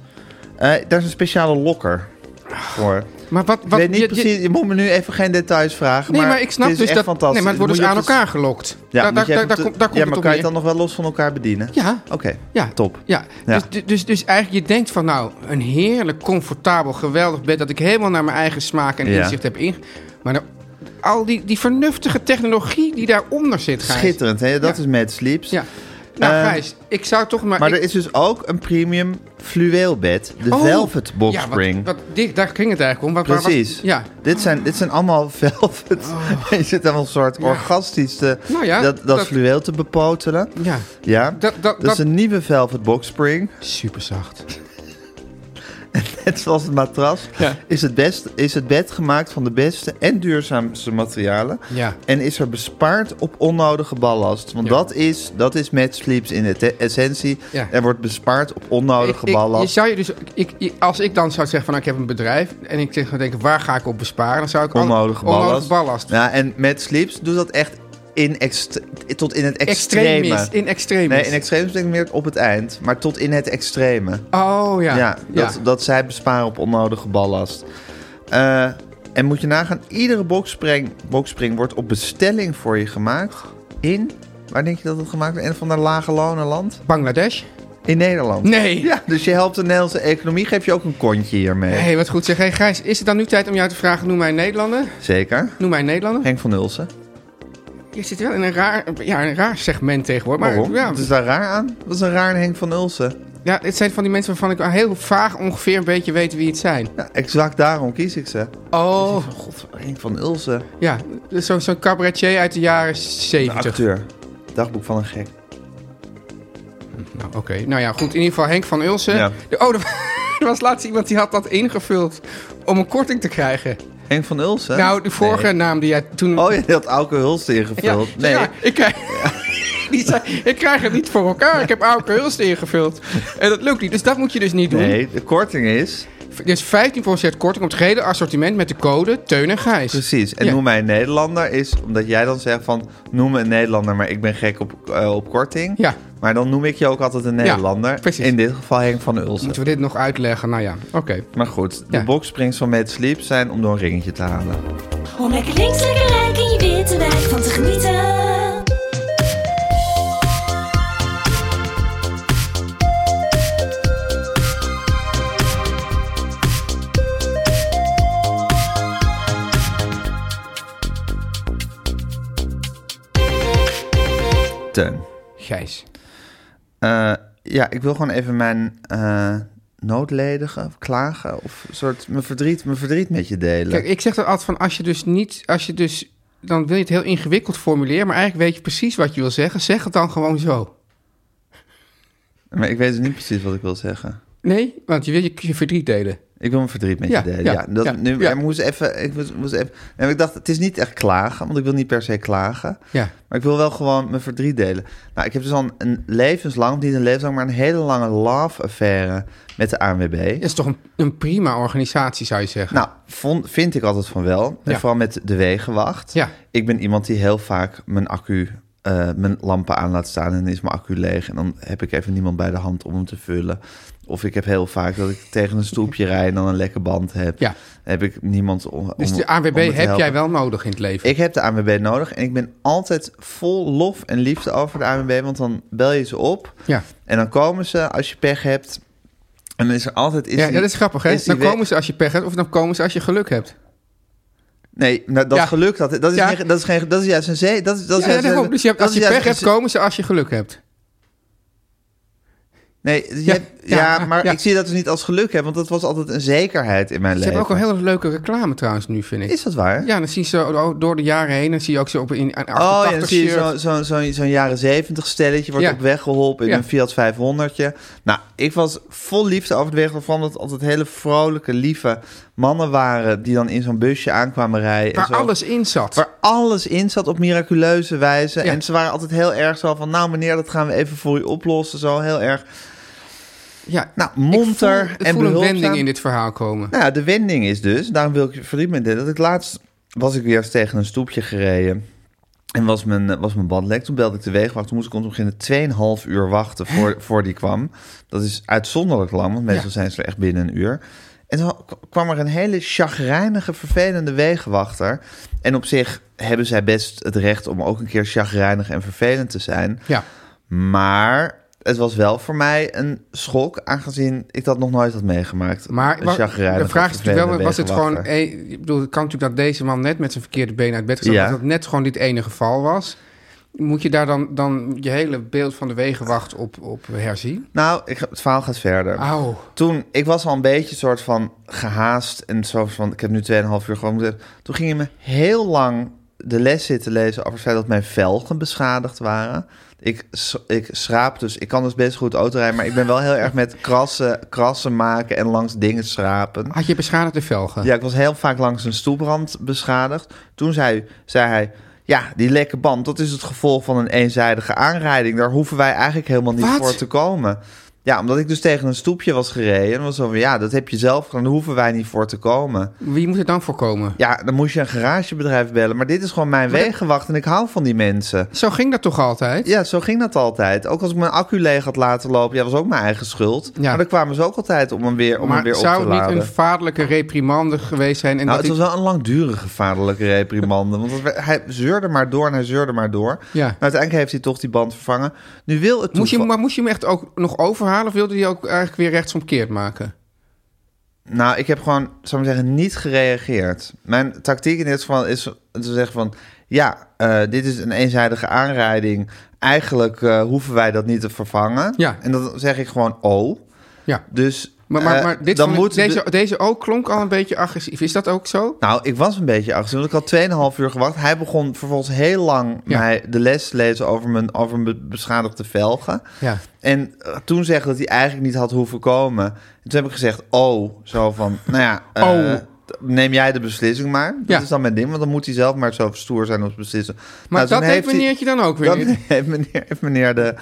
S1: Eh, daar is een speciale lokker voor.
S2: Maar wat...
S1: Ik
S2: wat
S1: weet niet
S2: je- je-
S1: precies, je, moet me nu even geen details vragen.
S2: Nee, maar,
S1: maar
S2: ik snap
S1: het is
S2: dus
S1: echt
S2: dat.
S1: fantastisch.
S2: Nee, maar het wordt
S1: Moet
S2: dus
S1: je
S2: aan
S1: even-
S2: elkaar gelokt.
S1: Ja,
S2: daar,
S1: moet
S2: daar,
S1: je
S2: daar,
S1: even
S2: daar,
S1: te-
S2: komt- daar komt
S1: ja maar
S2: het
S1: kan
S2: op
S1: je het dan
S2: neer.
S1: nog wel los van elkaar bedienen?
S2: Ja.
S1: Oké,
S2: Ja,
S1: top.
S2: Ja.
S1: Ja.
S2: Dus- Dus, dus, dus eigenlijk je denkt van nou, een heerlijk, comfortabel, geweldig bed dat ik helemaal naar mijn eigen smaak en
S1: Ja.
S2: inzicht heb inge... Maar nou, al die, die vernuftige technologie die daaronder zit, Gijs.
S1: Schitterend, hè? Dat
S2: Ja.
S1: is Mad Sleeps.
S2: Ja. Nou,
S1: Eh,
S2: Gijs, ik zou toch maar...
S1: Maar
S2: ik-
S1: er is dus ook een premium fluweelbed. De
S2: Oh!
S1: Velvet Boxspring.
S2: Ja, wat, wat, die- daar ging het eigenlijk om. Waar- waar- wat-
S1: Precies.
S2: ja. Oh.
S1: dit, zijn, dit zijn allemaal velvet. Je zit dan een soort orgastisch te,
S2: Nou ja,
S1: dat, dat,
S2: dat-
S1: fluweel te bepotelen.
S2: Ja.
S1: Ja,
S2: Dat- dat-
S1: is
S2: dat-
S1: een nieuwe velvet boxspring.
S2: Super
S1: Oh,
S2: zacht.
S1: Net zoals het matras.
S2: Ja.
S1: Is, het best, is het bed gemaakt van de beste en duurzaamste materialen.
S2: Ja.
S1: En is er bespaard op onnodige ballast. Want
S2: Ja.
S1: dat is, dat is met sleeps in de essentie.
S2: Ja.
S1: Er wordt bespaard op
S2: Ik-
S1: onnodige
S2: ik-
S1: ballast.
S2: je zou je dus, ik, ik- als ik dan zou zeggen van nou, ik heb een bedrijf en ik zeg, denk, waar ga ik op besparen? Dan zou ik al-
S1: Onnodige ballast.
S2: onnodige ballast.
S1: Ja, en met sleeps doet dat echt in ext- tot in het extreme.
S2: Extremis, in extremis.
S1: Nee, in extreem betekent meer op het eind, maar tot in het extreme.
S2: oh ja.
S1: Ja, dat, dat zij besparen op onnodige ballast. Eh, en moet je nagaan, iedere boxspring, boxspring wordt op bestelling voor je gemaakt. In, waar denk je dat het gemaakt wordt? Een van de lage lonen land?
S2: Bangladesh.
S1: in Nederland.
S2: Nee.
S1: Ja, dus je helpt de Nederlandse economie, geef je ook een kontje hiermee.
S2: Hé, hey, wat goed zeg. Hey, Gijs, is het dan nu tijd om jou te vragen, noem mij een Nederlander?
S1: Zeker.
S2: Noem mij een Nederlander?
S1: Henk van Ulsen.
S2: Je zit wel in een raar, ja, een raar segment tegenwoordig. Maar
S1: Waarom?
S2: ja,
S1: Wat is daar raar aan? Wat is een raar aan Henk van Ulsen?
S2: ja, het zijn van die mensen waarvan ik heel vaag ongeveer een beetje weet wie het zijn.
S1: Ja, exact daarom kies ik ze.
S2: Oh,
S1: God, Henk van Ulsen.
S2: ja, dus zo- zo'n cabaretier uit de jaren
S1: De
S2: 70.
S1: acteur. Dagboek van een gek.
S2: Nou, Oké, nou ja, goed. In ieder geval Henk van Ulsen.
S1: Ja.
S2: De- Oh, er wa- er was laatst iemand die had dat ingevuld om een korting te krijgen.
S1: Henk van Ulsen?
S2: Nou, de vorige
S1: Nee.
S2: naam die jij toen...
S1: Oh, je had Auke Hulsten
S2: Ja,
S1: ingevuld.
S2: nee.
S1: nee.
S2: ik, krijg, die zei, ik krijg het niet voor elkaar. Ik heb Auke Hulst ingevuld. En dat lukt niet. Dus dat moet je dus niet doen.
S1: nee, de korting is...
S2: Dus 15% korting op het gehele assortiment met de code Teun en Gijs.
S1: Precies. En
S2: Ja.
S1: noem mij een Nederlander is omdat jij dan zegt van noem me een Nederlander, maar ik ben gek op, eh, op korting.
S2: Ja.
S1: Maar dan noem ik je ook altijd een Nederlander.
S2: precies.
S1: In dit geval Henk van Ulsen.
S2: Moeten we dit nog uitleggen? Nou ja, oké.
S1: Maar goed, de
S2: Ja.
S1: boxsprings van Mad Sleep zijn om door een ringetje te halen.
S4: Om lekker links, lekker rijk in je witte wijk van te genieten.
S1: Teun.
S2: Gijs.
S1: Eh, ja, ik wil gewoon even mijn eh noodledigen, klagen of een soort mijn verdriet, mijn verdriet met je delen.
S2: Kijk, ik zeg dat altijd van als je dus niet... Als je dus, dan wil je het heel ingewikkeld formuleren. Maar eigenlijk weet je precies wat je wil zeggen. Zeg het dan gewoon zo.
S1: Maar ik weet dus niet precies wat ik wil zeggen.
S2: Nee, want je wil je, je verdriet delen.
S1: Ik wil mijn verdriet met
S2: Ja,
S1: je delen. Ja,
S2: ja,
S1: dat,
S2: ja,
S1: nu,
S2: ja.
S1: Ik moest even. Ik moest, moest even en ik dacht, het is niet echt klagen, want ik wil niet per se klagen.
S2: Ja.
S1: Maar ik wil wel gewoon mijn verdriet delen. Nou, ik heb dus al een, een levenslang, of niet een levenslang, maar een hele lange love-affaire met de ANWB.
S2: Dat is toch een, een prima organisatie, zou je zeggen.
S1: Nou, vond, vind ik altijd van wel. En
S2: Ja.
S1: vooral met de wegenwacht.
S2: Ja.
S1: Ik ben iemand die heel vaak mijn accu, eh, mijn lampen aan laat staan en dan is mijn accu leeg. En dan heb ik even niemand bij de hand om hem te vullen. Of ik heb heel vaak dat ik tegen een stoepje rijd en dan een lekke band heb.
S2: Ja.
S1: Heb ik niemand om. Nou,
S2: dus
S1: om-
S2: de
S1: om me
S2: AWB
S1: te
S2: heb jij
S1: helpen.
S2: wel nodig in het leven.
S1: Ik heb de ANWB nodig en ik ben altijd vol lof en liefde over de ANWB. Want dan bel je ze op
S2: Ja.
S1: en dan komen ze als je pech hebt. En dan is er altijd... Is
S2: ja,
S1: die-
S2: dat is grappig, hè?
S1: is die
S2: Dan
S1: we-
S2: komen ze als je pech hebt of dan komen ze als je geluk hebt.
S1: Nee, nou, dat
S2: Ja.
S1: geluk, dat, dat, is
S2: Ja.
S1: geen, dat, is geen, dat is juist een zee. Dat is, dat is
S2: Ja,
S1: juist
S2: daarom.
S1: een-
S2: dus je hebt,
S1: dat
S2: als je
S1: is
S2: pech
S1: juist
S2: hebt,
S1: een-
S2: komen ze als je geluk hebt.
S1: Nee, dus je
S2: Ja,
S1: hebt- ja,
S2: ja,
S1: maar
S2: ja.
S1: ik zie dat dus niet als geluk hebben, want dat was altijd een zekerheid in mijn
S2: Ze
S1: leven.
S2: hebben Dus ook een hele leuke reclame trouwens nu, vind ik.
S1: Is dat waar?
S2: Ja, dan zie je ze oh, door de jaren heen. Dan zie je ook ze op een, een 88
S1: Oh ja, dan zie je
S2: shirt.
S1: zo'n zo, zo, zo'n jaren zeventig stelletje wordt
S2: Ja.
S1: op weg geholpen in
S2: Ja.
S1: een Fiat 500. Nou, ik was vol liefde over de weg, vooral omdat het altijd hele vrolijke, lieve mannen waren die dan in zo'n busje aankwamen rijden. en
S2: waar
S1: zo.
S2: alles in zat.
S1: Waar alles in zat op miraculeuze wijze.
S2: Ja.
S1: En ze waren altijd heel erg zo van... nou meneer, dat gaan we even voor u oplossen. Zo heel erg
S2: ja,
S1: nou, monter
S2: ik voel, ik
S1: en
S2: voel een
S1: behulpzaam.
S2: wending in dit verhaal komen.
S1: Nou ja, de wending is dus... daarom wil ik je verdiepen met dit... dat ik laatst was ik weer eens tegen een stoepje gereden... en was mijn, eh, was mijn band lek. Toen belde ik de wegenwacht. Toen moest ik om te beginnen 2,5 uur wachten voor, voor die kwam. Dat is uitzonderlijk lang, want meestal
S2: Ja.
S1: zijn ze er echt binnen een uur. En toen k- kwam er een hele chagrijnige, vervelende wegenwachter. En op zich hebben zij best het recht om ook een keer chagrijnig en vervelend te zijn.
S2: Ja.
S1: Maar het was wel voor mij een schok, aangezien ik dat nog nooit had meegemaakt.
S2: Maar
S1: Een
S2: wa-
S1: chagrijnige,
S2: de vraag is natuurlijk wel,
S1: vervelende
S2: was het gewoon...
S1: wegenwachter.
S2: eh, ik bedoel, het kan natuurlijk dat deze man net met zijn verkeerde been uit bed gezet...
S1: Ja.
S2: dat dat net gewoon dit ene geval was. Moet je daar dan, dan je hele beeld van de wegenwacht op, op herzien?
S1: Nou, ik, ga- het verhaal gaat verder.
S2: Auw.
S1: Toen, ik was al een beetje soort van gehaast en zo van, ik heb nu 2,5 uur gewoon moeten... Toen ging hij me heel lang de les zitten lezen over het feit dat mijn velgen beschadigd waren. Ik, s- ik schraap dus, ik kan dus best goed autorijden, maar ik ben wel heel erg met krassen, krassen maken en langs dingen schrapen.
S2: Had je beschadigde velgen?
S1: Ja, ik was heel vaak langs een stoelbrand beschadigd. Toen zei, zei hij, ja, die lekke band, dat is het gevolg van een eenzijdige aanrijding. Daar hoeven wij eigenlijk helemaal niet
S2: Wat?
S1: voor te komen. Ja, omdat ik dus tegen een stoepje was gereden. En was zo van, ja, dat heb je zelf gedaan, daar hoeven wij niet voor te komen.
S2: Wie moet het dan voorkomen?
S1: Ja, dan moest je een garagebedrijf bellen. Maar dit is gewoon mijn
S2: Maar dat-
S1: wegenwacht en ik hou van die mensen.
S2: Zo ging dat toch altijd?
S1: Ja, zo ging dat altijd. Ook als ik mijn accu leeg had laten lopen, ja, was ook mijn eigen schuld.
S2: Ja.
S1: Maar dan kwamen ze ook altijd om hem weer, om hem
S2: maar
S1: weer op
S2: zou
S1: te
S2: het niet
S1: laden.
S2: een vaderlijke reprimande geweest zijn? En
S1: Nou,
S2: dat
S1: het was
S2: ik-
S1: wel een langdurige vaderlijke reprimande. Want het werd- hij zeurde maar door en hij zeurde maar door.
S2: Ja.
S1: Maar uiteindelijk heeft hij toch die band vervangen. Nu wil het
S2: moest, je,
S1: toeval-
S2: maar moest je hem echt ook nog verhalen of wilde hij ook eigenlijk weer rechtsomkeerd maken?
S1: Nou, ik heb gewoon, zou ik maar zeggen, niet gereageerd. Mijn tactiek in dit geval is te zeggen van... ja, eh, dit is een eenzijdige aanrijding. Eigenlijk eh, hoeven wij dat niet te vervangen.
S2: Ja.
S1: En dan zeg ik gewoon, oh.
S2: Ja.
S1: Dus
S2: Maar, maar,
S1: eh,
S2: maar dit
S1: dan
S2: vond ik-
S1: moet...
S2: deze, deze ook klonk al een beetje agressief. Is dat ook zo?
S1: Nou, ik was een beetje agressief. want Ik had 2,5 uur gewacht. Hij begon vervolgens heel lang
S2: Ja.
S1: mij de les te lezen over mijn, over mijn be- beschadigde velgen.
S2: Ja.
S1: En eh, toen zeggen dat hij eigenlijk niet had hoeven komen. En toen heb ik gezegd, oh, zo van, nou ja, eh,
S2: Oh.
S1: t- neem jij de beslissing maar. Dat
S2: Ja.
S1: is dan mijn ding, want dan moet hij zelf maar zo stoer zijn om te beslissen. Nou,
S2: Maar
S1: toen
S2: dat deed
S1: hij-
S2: meneertje dan ook weer
S1: Dat
S2: niet.
S1: heeft meneer, heeft meneer de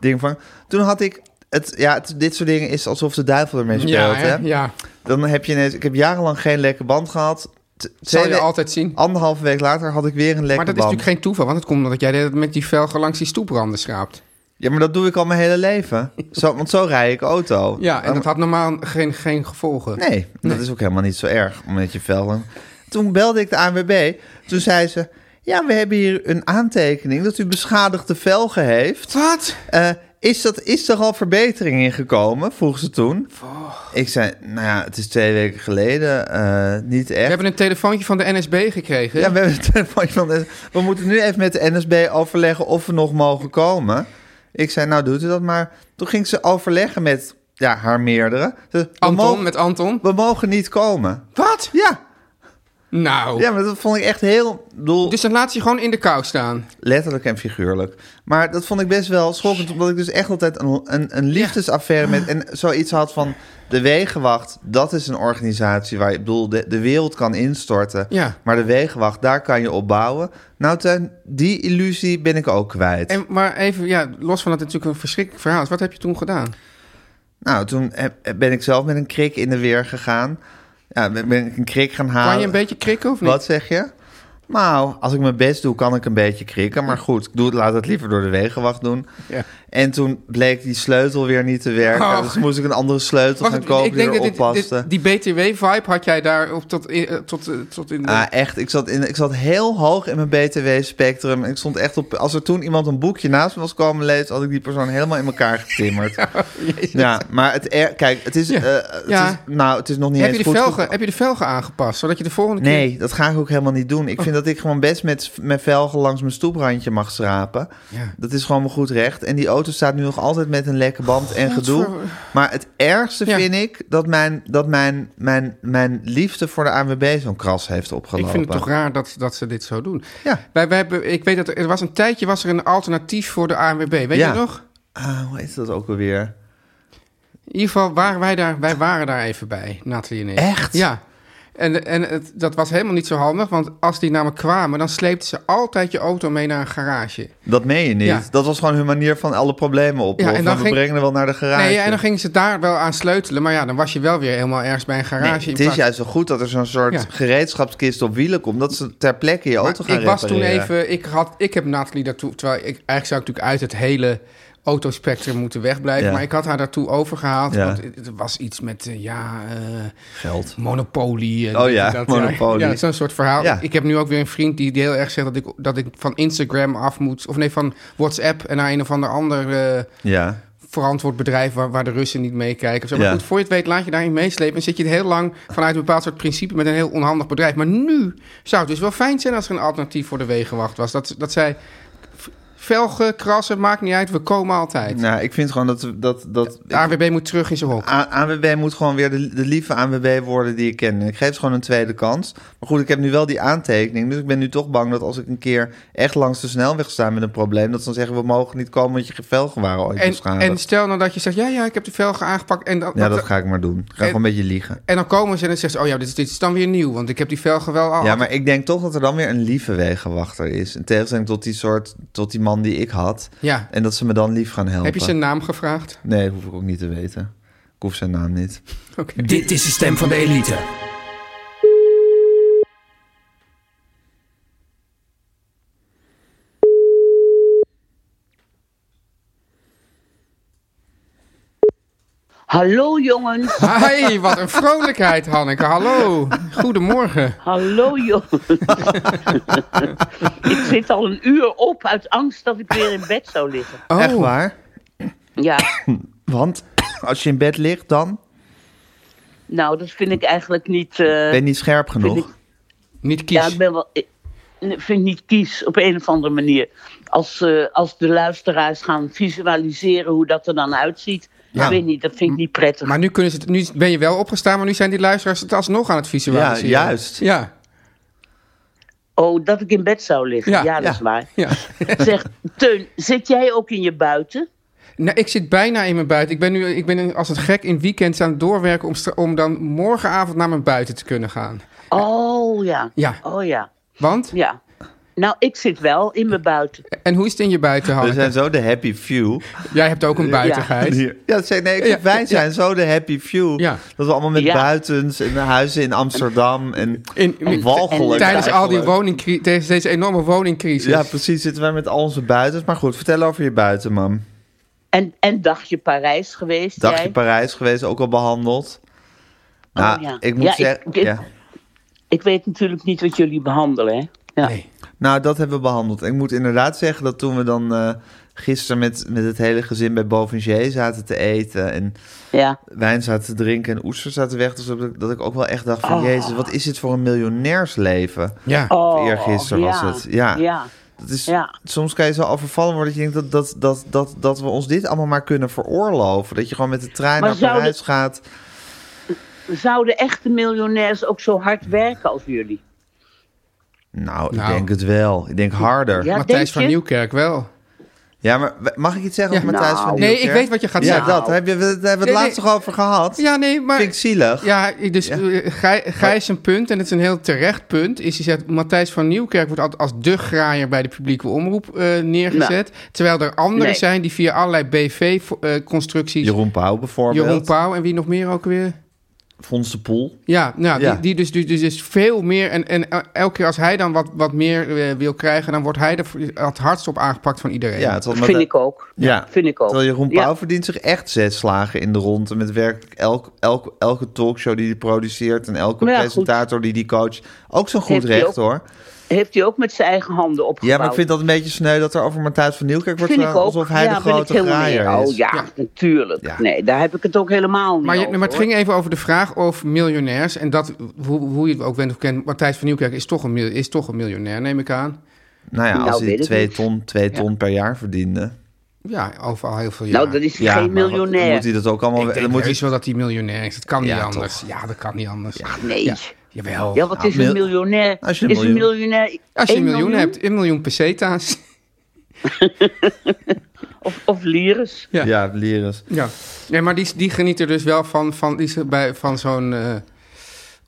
S1: ding van. Toen had ik, het, ja, het- dit soort dingen is alsof de duivel ermee speelt.
S2: Ja,
S1: hè?
S2: hè? ja.
S1: Dan heb je ineens, ik heb jarenlang geen lekke band gehad. T-
S2: zal
S1: twee
S2: je
S1: we-
S2: altijd zien.
S1: Anderhalve week later had ik weer een lekke
S2: Maar dat is
S1: band.
S2: natuurlijk geen toeval, want het komt omdat jij de hele tijd met die velgen langs die stoepranden schraapt.
S1: Ja, maar dat doe ik al mijn hele leven. Zo, want zo rij ik auto.
S2: Ja, en
S1: Dan-
S2: dat had normaal geen, geen gevolgen.
S1: Oh. Nee, dat is ook helemaal niet zo erg omdat je velden. Toen belde ik de ANWB. Toen zei ze: Ja, we hebben hier een aantekening dat u beschadigde velgen heeft.
S2: Wat?
S1: Eh, is, dat, is er al verbetering in gekomen? vroeg ze toen.
S2: Oh.
S1: Ik zei: Nou ja, het is twee weken geleden. eh, niet echt.
S2: We hebben een telefoontje van de NSB gekregen.
S1: Ja, we hebben het telefoontje van de- We moeten nu even met de NSB overleggen of we nog mogen komen. Ik zei, nou doet u dat maar. Toen ging ze overleggen met ja, haar meerdere. Ze zei, we,
S2: Anton,
S1: mogen,
S2: met Anton.
S1: we mogen niet komen.
S2: Wat?
S1: Ja,
S2: Nou.
S1: ja, maar dat vond ik echt heel... ik Bedoel,
S2: Dus dan laat ze je gewoon in de kou staan.
S1: Letterlijk en figuurlijk. Maar dat vond ik best wel schokkend, omdat ik dus echt altijd een, een, een liefdesaffaire met... En zoiets had van, de Wegenwacht, dat is een organisatie waar je... Ik bedoel, de, de wereld kan instorten,
S2: Ja.
S1: maar de Wegenwacht, daar kan je op bouwen. Nou Teun, die illusie ben ik ook kwijt.
S2: En, maar even, ja, los van dat het natuurlijk een verschrikkelijk verhaal is. Wat heb je toen gedaan?
S1: Nou, toen heb- ben ik zelf met een krik in de weer gegaan. Ja, ben ben ik een krik gaan halen.
S2: Kan je een beetje krikken of niet?
S1: Nou, Wat zeg je? Nou, als ik mijn best doe, kan ik een beetje krikken. Maar goed, ik doe het, laat het liever door de wegenwacht doen.
S2: Ja.
S1: En toen bleek die sleutel weer niet te werken.
S2: Oh.
S1: Dus moest ik een andere sleutel
S2: Wacht,
S1: gaan kopen
S2: ik denk
S1: die
S2: dat
S1: erop
S2: dit- dit-
S1: paste.
S2: die BTW-vibe had jij daar op tot, in- eh, tot, eh, tot in de...
S1: Ah, echt. Ik zat, in, ik zat heel hoog in mijn BTW-spectrum. Ik stond echt op... Als er toen iemand een boekje naast me was komen lezen... had ik die persoon helemaal in elkaar getimmerd. ja, maar het... er- Kijk, het is...
S2: Oh, Ja.
S1: eh, het
S2: Ja.
S1: is nou, het is nog niet
S2: heb,
S1: eens
S2: je de
S1: goed
S2: velgen, heb je de velgen aangepast, zodat je de volgende keer...
S1: Nee, dat ga ik ook helemaal niet doen.
S2: Oh.
S1: Ik vind dat ik gewoon best met mijn velgen langs mijn stoeprandje mag schrapen.
S2: Ja.
S1: Dat is gewoon mijn goed recht. En die auto staat nu nog altijd met een lekke band en gedoe. Maar het ergste
S2: Ja.
S1: vind ik dat, mijn, dat mijn, mijn, mijn liefde voor de ANWB zo'n kras heeft opgelopen.
S2: Ik vind het toch raar dat, dat ze dit zo doen.
S1: Ja.
S2: Wij, wij hebben, ik weet dat er, er was een tijdje was er een alternatief voor de ANWB. Weet
S1: Ja.
S2: je nog?
S1: Ah, hoe heet dat ook alweer?
S2: In ieder geval waren wij daar, wij waren daar even bij, Nathalie en ik.
S1: Echt?
S2: Ja. En, en het, dat was helemaal niet zo handig, want als die namelijk kwamen, dan sleepten ze altijd je auto mee naar een garage.
S1: Dat meen je niet.
S2: Ja.
S1: Dat was gewoon hun manier van alle problemen oplossen.
S2: Ja, en
S1: en
S2: dan
S1: we
S2: ging-
S1: brengen er wel naar de garage.
S2: Nee, ja, en dan gingen ze daar wel aan sleutelen, maar ja, dan was je wel weer helemaal ergens bij een garage.
S1: Nee,
S2: in
S1: het is
S2: plaats-
S1: juist zo goed dat er zo'n soort
S2: Ja.
S1: gereedschapskist op wielen komt. Dat ze ter plekke je auto gaan
S2: ik was toen
S1: repareren.
S2: even, ik, had, ik heb Nathalie daartoe, terwijl ik eigenlijk zou ik natuurlijk uit het hele autospectrum moeten wegblijven,
S1: Ja.
S2: maar ik had haar daartoe overgehaald,
S1: Ja.
S2: want het het was iets met, eh, ja, eh,
S1: Geld.
S2: monopolie. en
S1: Oh
S2: dit
S1: ja,
S2: en ja.
S1: monopolie.
S2: Ja, zo'n soort verhaal.
S1: Ja.
S2: Ik heb nu ook weer een vriend die, die heel erg zegt dat ik, dat ik van Instagram af moet, of nee, van WhatsApp en naar een of ander ander eh,
S1: Ja.
S2: verantwoord bedrijf waar, waar de Russen niet meekijken. of zo. Maar
S1: Ja.
S2: goed, voor je het weet laat je daarin meeslepen... en zit je heel lang vanuit een bepaald soort principe... met een heel onhandig bedrijf. Maar nu zou het dus wel fijn zijn als er een alternatief voor de Wegenwacht was. Dat, dat zij... v- Velgen, krassen, maakt niet uit, we komen altijd.
S1: Nou, ik vind gewoon dat... dat, dat
S2: De AWB moet terug in zijn hok.
S1: A- ANWB moet gewoon weer de, de lieve ANWB worden die ik ken. Ik geef ze gewoon een tweede kans. Maar goed, ik heb nu wel die aantekening. Dus ik ben nu toch bang dat als ik een keer echt langs de snelweg sta met een probleem... dat ze dan zeggen, we mogen niet komen, want je velgen waren ooit
S2: En,
S1: beschadigd.
S2: en stel nou dat je zegt, ja, ja, ik heb de velgen aangepakt. En dan,
S1: ja, dat ga ik maar doen. Ik ga
S2: en-
S1: gewoon een beetje liegen.
S2: en dan komen ze en dan zeggen ze, oh ja, dit, is- dit is dan weer nieuw... want ik heb die velgen wel al.
S1: Ja, maar ik denk toch dat er dan weer een lieve wegenwachter is. In tegenstelling tot die soort, tot die man die ik had.
S2: Ja.
S1: En dat ze me dan lief gaan helpen.
S2: Heb je zijn naam gevraagd?
S1: Nee, hoef ik ook niet te weten. Ik hoef zijn naam niet.
S2: Oké.
S3: Dit is de stem van de elite.
S5: Hallo jongens,
S2: Hi, wat een vrolijkheid, Hanneke. Hallo, goedemorgen.
S5: hallo jongens. ik zit al een uur op uit angst dat ik weer in bed zou liggen.
S2: Oh.
S1: Echt waar?
S5: Ja,
S1: Want Als je in bed ligt, dan
S5: Nou, dat vind ik eigenlijk niet... eh,
S1: ben je niet scherp genoeg.
S5: ik-
S2: Niet kies.
S5: ja, ik ben wel... Ik ik vind niet kies op een of andere manier. Als, eh, als de luisteraars gaan visualiseren hoe dat er dan uitziet.
S2: Ja.
S5: Ik weet niet, dat vind ik niet prettig.
S2: Maar nu, kunnen ze het, nu ben je wel opgestaan, maar nu zijn die luisteraars het alsnog aan het visualiseren.
S1: Ja, juist.
S2: Ja,
S5: Oh, dat ik in bed zou liggen.
S2: Ja,
S5: Ja, dat
S1: ja.
S5: is waar.
S2: ja.
S5: Zeg, Teun, zit jij ook in je buiten?
S2: Nou, ik zit bijna in mijn buiten. Ik ben nu ik ben als het gek in weekends aan het doorwerken om, stra- om dan morgenavond naar mijn buiten te kunnen gaan.
S5: Oh ja.
S2: Ja.
S5: Oh ja.
S2: Want?
S5: Ja. Nou, ik zit wel in mijn buiten.
S2: En hoe is het in je buiten,
S1: We
S2: Hanneke?
S1: zijn zo de happy few.
S2: Jij hebt ook een buitengeit. Ja.
S1: Ja, zeg, nee, ik
S2: Ja,
S1: zeg, wij
S2: ja.
S1: zijn zo de happy few.
S2: Ja.
S1: Dat we allemaal met
S5: Ja.
S1: buitens en huizen in Amsterdam en,
S2: In-
S1: en walgelijk.
S2: Tijdens al die
S1: eigenlijk.
S2: woningcri- deze, deze enorme woningcrisis.
S1: Ja, precies, zitten wij met al onze buitens. Maar goed, vertel over je buiten, mam.
S5: En, en dagje Parijs geweest.
S1: Dagje
S5: jij? Oh,
S1: Parijs geweest, ook al behandeld. Nou,
S5: ja.
S1: ik moet
S5: Ja, ik-
S1: zeggen...
S5: dit-
S1: ja.
S5: Ik weet natuurlijk niet wat jullie behandelen, hè? Ja.
S2: Nee.
S1: Nou, dat hebben we behandeld. Ik moet inderdaad zeggen dat toen we dan eh gisteren met, met het hele gezin bij Bovinger zaten te eten... en
S5: ja.
S1: wijn zaten te drinken en oesters zaten weg... Dus dat, ik, dat ik ook wel echt dacht van, jezus, wat is dit voor een miljonairsleven?
S2: Ja.
S5: Oh,
S1: eergisteren was het. Ja.
S5: ja.
S1: Dat is,
S5: Ja.
S1: Soms kan je zo overvallen worden dat je denkt dat, dat, dat, dat, dat we ons dit allemaal maar kunnen veroorloven. Dat je gewoon met de trein
S5: Maar
S1: naar
S5: zou
S1: Parijs
S5: dit-
S1: gaat.
S5: Zouden echte miljonairs ook zo hard werken als jullie?
S1: Nou,
S2: Nou.
S1: ik denk het wel. Ik denk harder. Ja,
S5: Ja, denk
S2: Matthijs
S5: je?
S2: van Nieuwkerk wel.
S1: maar w- mag ik iets zeggen
S2: Ja.
S1: over Matthijs
S5: Nou.
S1: van
S2: Nee,
S1: Nieuwkerk?
S2: ik weet wat je gaat
S1: Ja,
S2: zeggen.
S1: dat. Heb je, we- daar hebben we het
S2: Nee,
S1: laatst
S2: nee.
S1: toch over gehad.
S2: Ja, nee, maar...
S1: Vind ik zielig.
S2: Ja, dus eh, Gij- Gijs een punt, en het is een heel terecht punt, is die zegt... Matthijs van Nieuwkerk wordt altijd als de graaier bij de publieke omroep eh, neergezet.
S1: Nou,
S2: Terwijl er anderen
S5: Nee.
S2: zijn die via allerlei BV-constructies...
S1: Jeroen Pauw bijvoorbeeld.
S2: Jeroen Pauw en wie nog meer ook weer?
S1: Fons de Poel.
S2: Ja, nou,
S1: Ja.
S2: Die, die dus, dus, dus is veel meer. En, en el- elke keer als hij dan wat, wat meer eh, wil krijgen, dan wordt hij er voor- het hardst op aangepakt van iedereen.
S1: Ja, terwijl
S5: Vind
S1: Matthij-
S5: ik ook.
S1: Ja.
S5: Vind ik ook.
S1: Terwijl Jeroen
S5: Ja.
S1: Pauw verdient zich echt zes slagen in de ronde. Met werkelijk elk, elk, elke talkshow die hij produceert... en elke
S5: Nou ja,
S1: presentator die die coacht. Ook zo'n goed
S5: Heeft hij
S1: recht,
S5: ook
S1: hoor.
S5: Heeft hij ook met zijn eigen handen opgebouwd?
S1: Ja, maar ik vind dat een beetje sneu dat er over Matthijs van Nieuwkerk wordt
S5: Vind ik
S1: gedaan,
S5: ook.
S1: alsof hij
S5: ja,
S1: de
S5: vind
S1: grote
S5: ik heel
S1: graaier
S5: oneer-
S1: is.
S5: Oh ja,
S2: Ja.
S5: natuurlijk.
S1: Ja.
S5: Nee, daar heb ik het ook helemaal niet
S2: Maar, je-
S5: over,
S2: maar het
S5: hoor.
S2: ging even over de vraag of miljonairs. En dat, hoe, hoe je het ook bent of kent, Matthijs van Nieuwkerk is toch, een, mil- is toch een miljonair, neem ik aan.
S1: Nou ja, als
S5: Nou,
S1: hij
S5: weet ik
S1: twee
S5: niet.
S1: ton, twee ton per jaar verdiende.
S2: Ja, overal heel veel
S5: Nou,
S2: jaren.
S5: dat is
S1: Ja,
S5: geen
S1: maar wat- Dan
S5: miljonair.
S1: moet hij dat ook allemaal...
S2: Ik
S1: dan
S2: denk
S1: moet
S2: moet
S1: hij-
S2: wel dat hij miljonair is. Dat kan
S1: Ja,
S2: niet
S1: toch.
S2: anders. Ja, dat kan niet anders. Ja,
S5: nee.
S2: jawel.
S5: Ja, wat
S1: Ja,
S5: is een
S1: Nou, mil-
S5: miljonair?
S1: Als je een
S5: is een
S1: miljoen-
S5: miljonair
S2: als je een
S5: één
S2: miljoen, hebt, een miljoen peseta's.
S5: Of, of lires.
S2: Ja.
S1: Ja, Lyrus.
S2: Ja, nee, maar die, die geniet er dus wel van, van, die ze bij, van zo'n eh,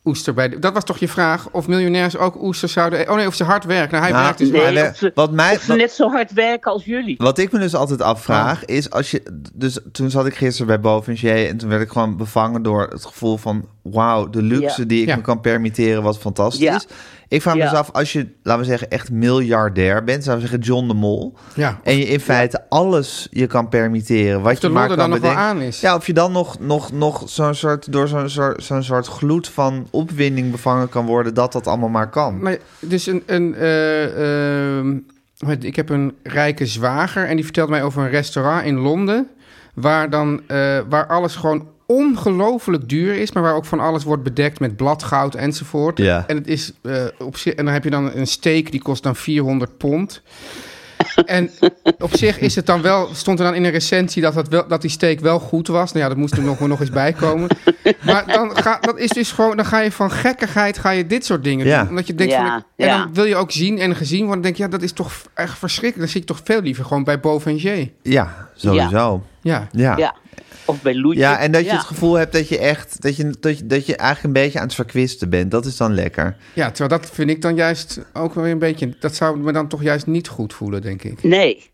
S2: oester. Bij de- dat was toch je vraag? Of miljonairs ook oesters zouden... Oh nee, of ze hard werken. Nou, hij
S1: Nou,
S2: werkt dus
S1: nee.
S2: wel.
S1: Maar, eh,
S5: of ze,
S1: wat mij-
S5: of ze
S1: wat-
S5: net zo hard werken als jullie.
S1: Wat ik me dus altijd afvraag is als je. Dus toen zat ik gisteren bij Bovenger en toen werd ik gewoon bevangen door het gevoel van: wauw, de luxe
S5: Ja.
S1: die ik
S2: Ja.
S1: me kan permitteren, wat fantastisch.
S5: Ja.
S1: Ik vraag me
S5: Ja.
S1: dus af, als je, laten we zeggen, echt miljardair bent, zouden we zeggen John de Mol,
S2: Ja.
S1: en je in feite alles je kan permitteren, wat
S2: de
S1: je
S2: lol
S1: maar
S2: er
S1: kan
S2: dan nog wel
S1: bedenken.
S2: aan is.
S1: Ja, of je dan nog, nog, nog zo'n soort, door zo'n soort, zo'n soort gloed van opwinding bevangen kan worden, dat dat allemaal maar kan.
S2: Maar dus een... een eh, ehm, wat- ik heb een rijke zwager en die vertelt mij over een restaurant in Londen... waar, dan, eh, waar alles gewoon ongelooflijk duur is... maar waar ook van alles wordt bedekt met bladgoud enzovoort.
S1: Ja.
S2: En, het is, eh, op, zi- en dan heb je dan een steak die kost dan 400 pond... En op zich is het dan wel, stond er dan in een recensie dat, dat, wel, dat die steek wel goed was. Nou ja, dat moest er nog, nog eens bij komen. Maar dan, ga, dat is dus gewoon, dan ga je van gekkigheid ga je dit soort dingen
S1: Ja.
S2: doen. Omdat je denkt
S5: Ja,
S2: van, en
S5: ja.
S2: dan wil je ook zien en gezien worden. Dan denk je, ja, dat is toch echt verschrikkelijk. Dan zit je toch veel liever gewoon bij Bovenger.
S1: Ja, sowieso.
S2: Ja.
S1: Ja.
S5: Ja. Of bij Loetje.
S1: Ja, en dat je het gevoel hebt dat je echt, dat je, dat je, dat je eigenlijk een beetje aan het verkwisten bent. Dat is dan lekker.
S2: ja, terwijl dat vind ik dan juist ook wel weer een beetje... Dat zou me dan toch juist niet goed voelen, denk ik.
S5: Nee. Nee.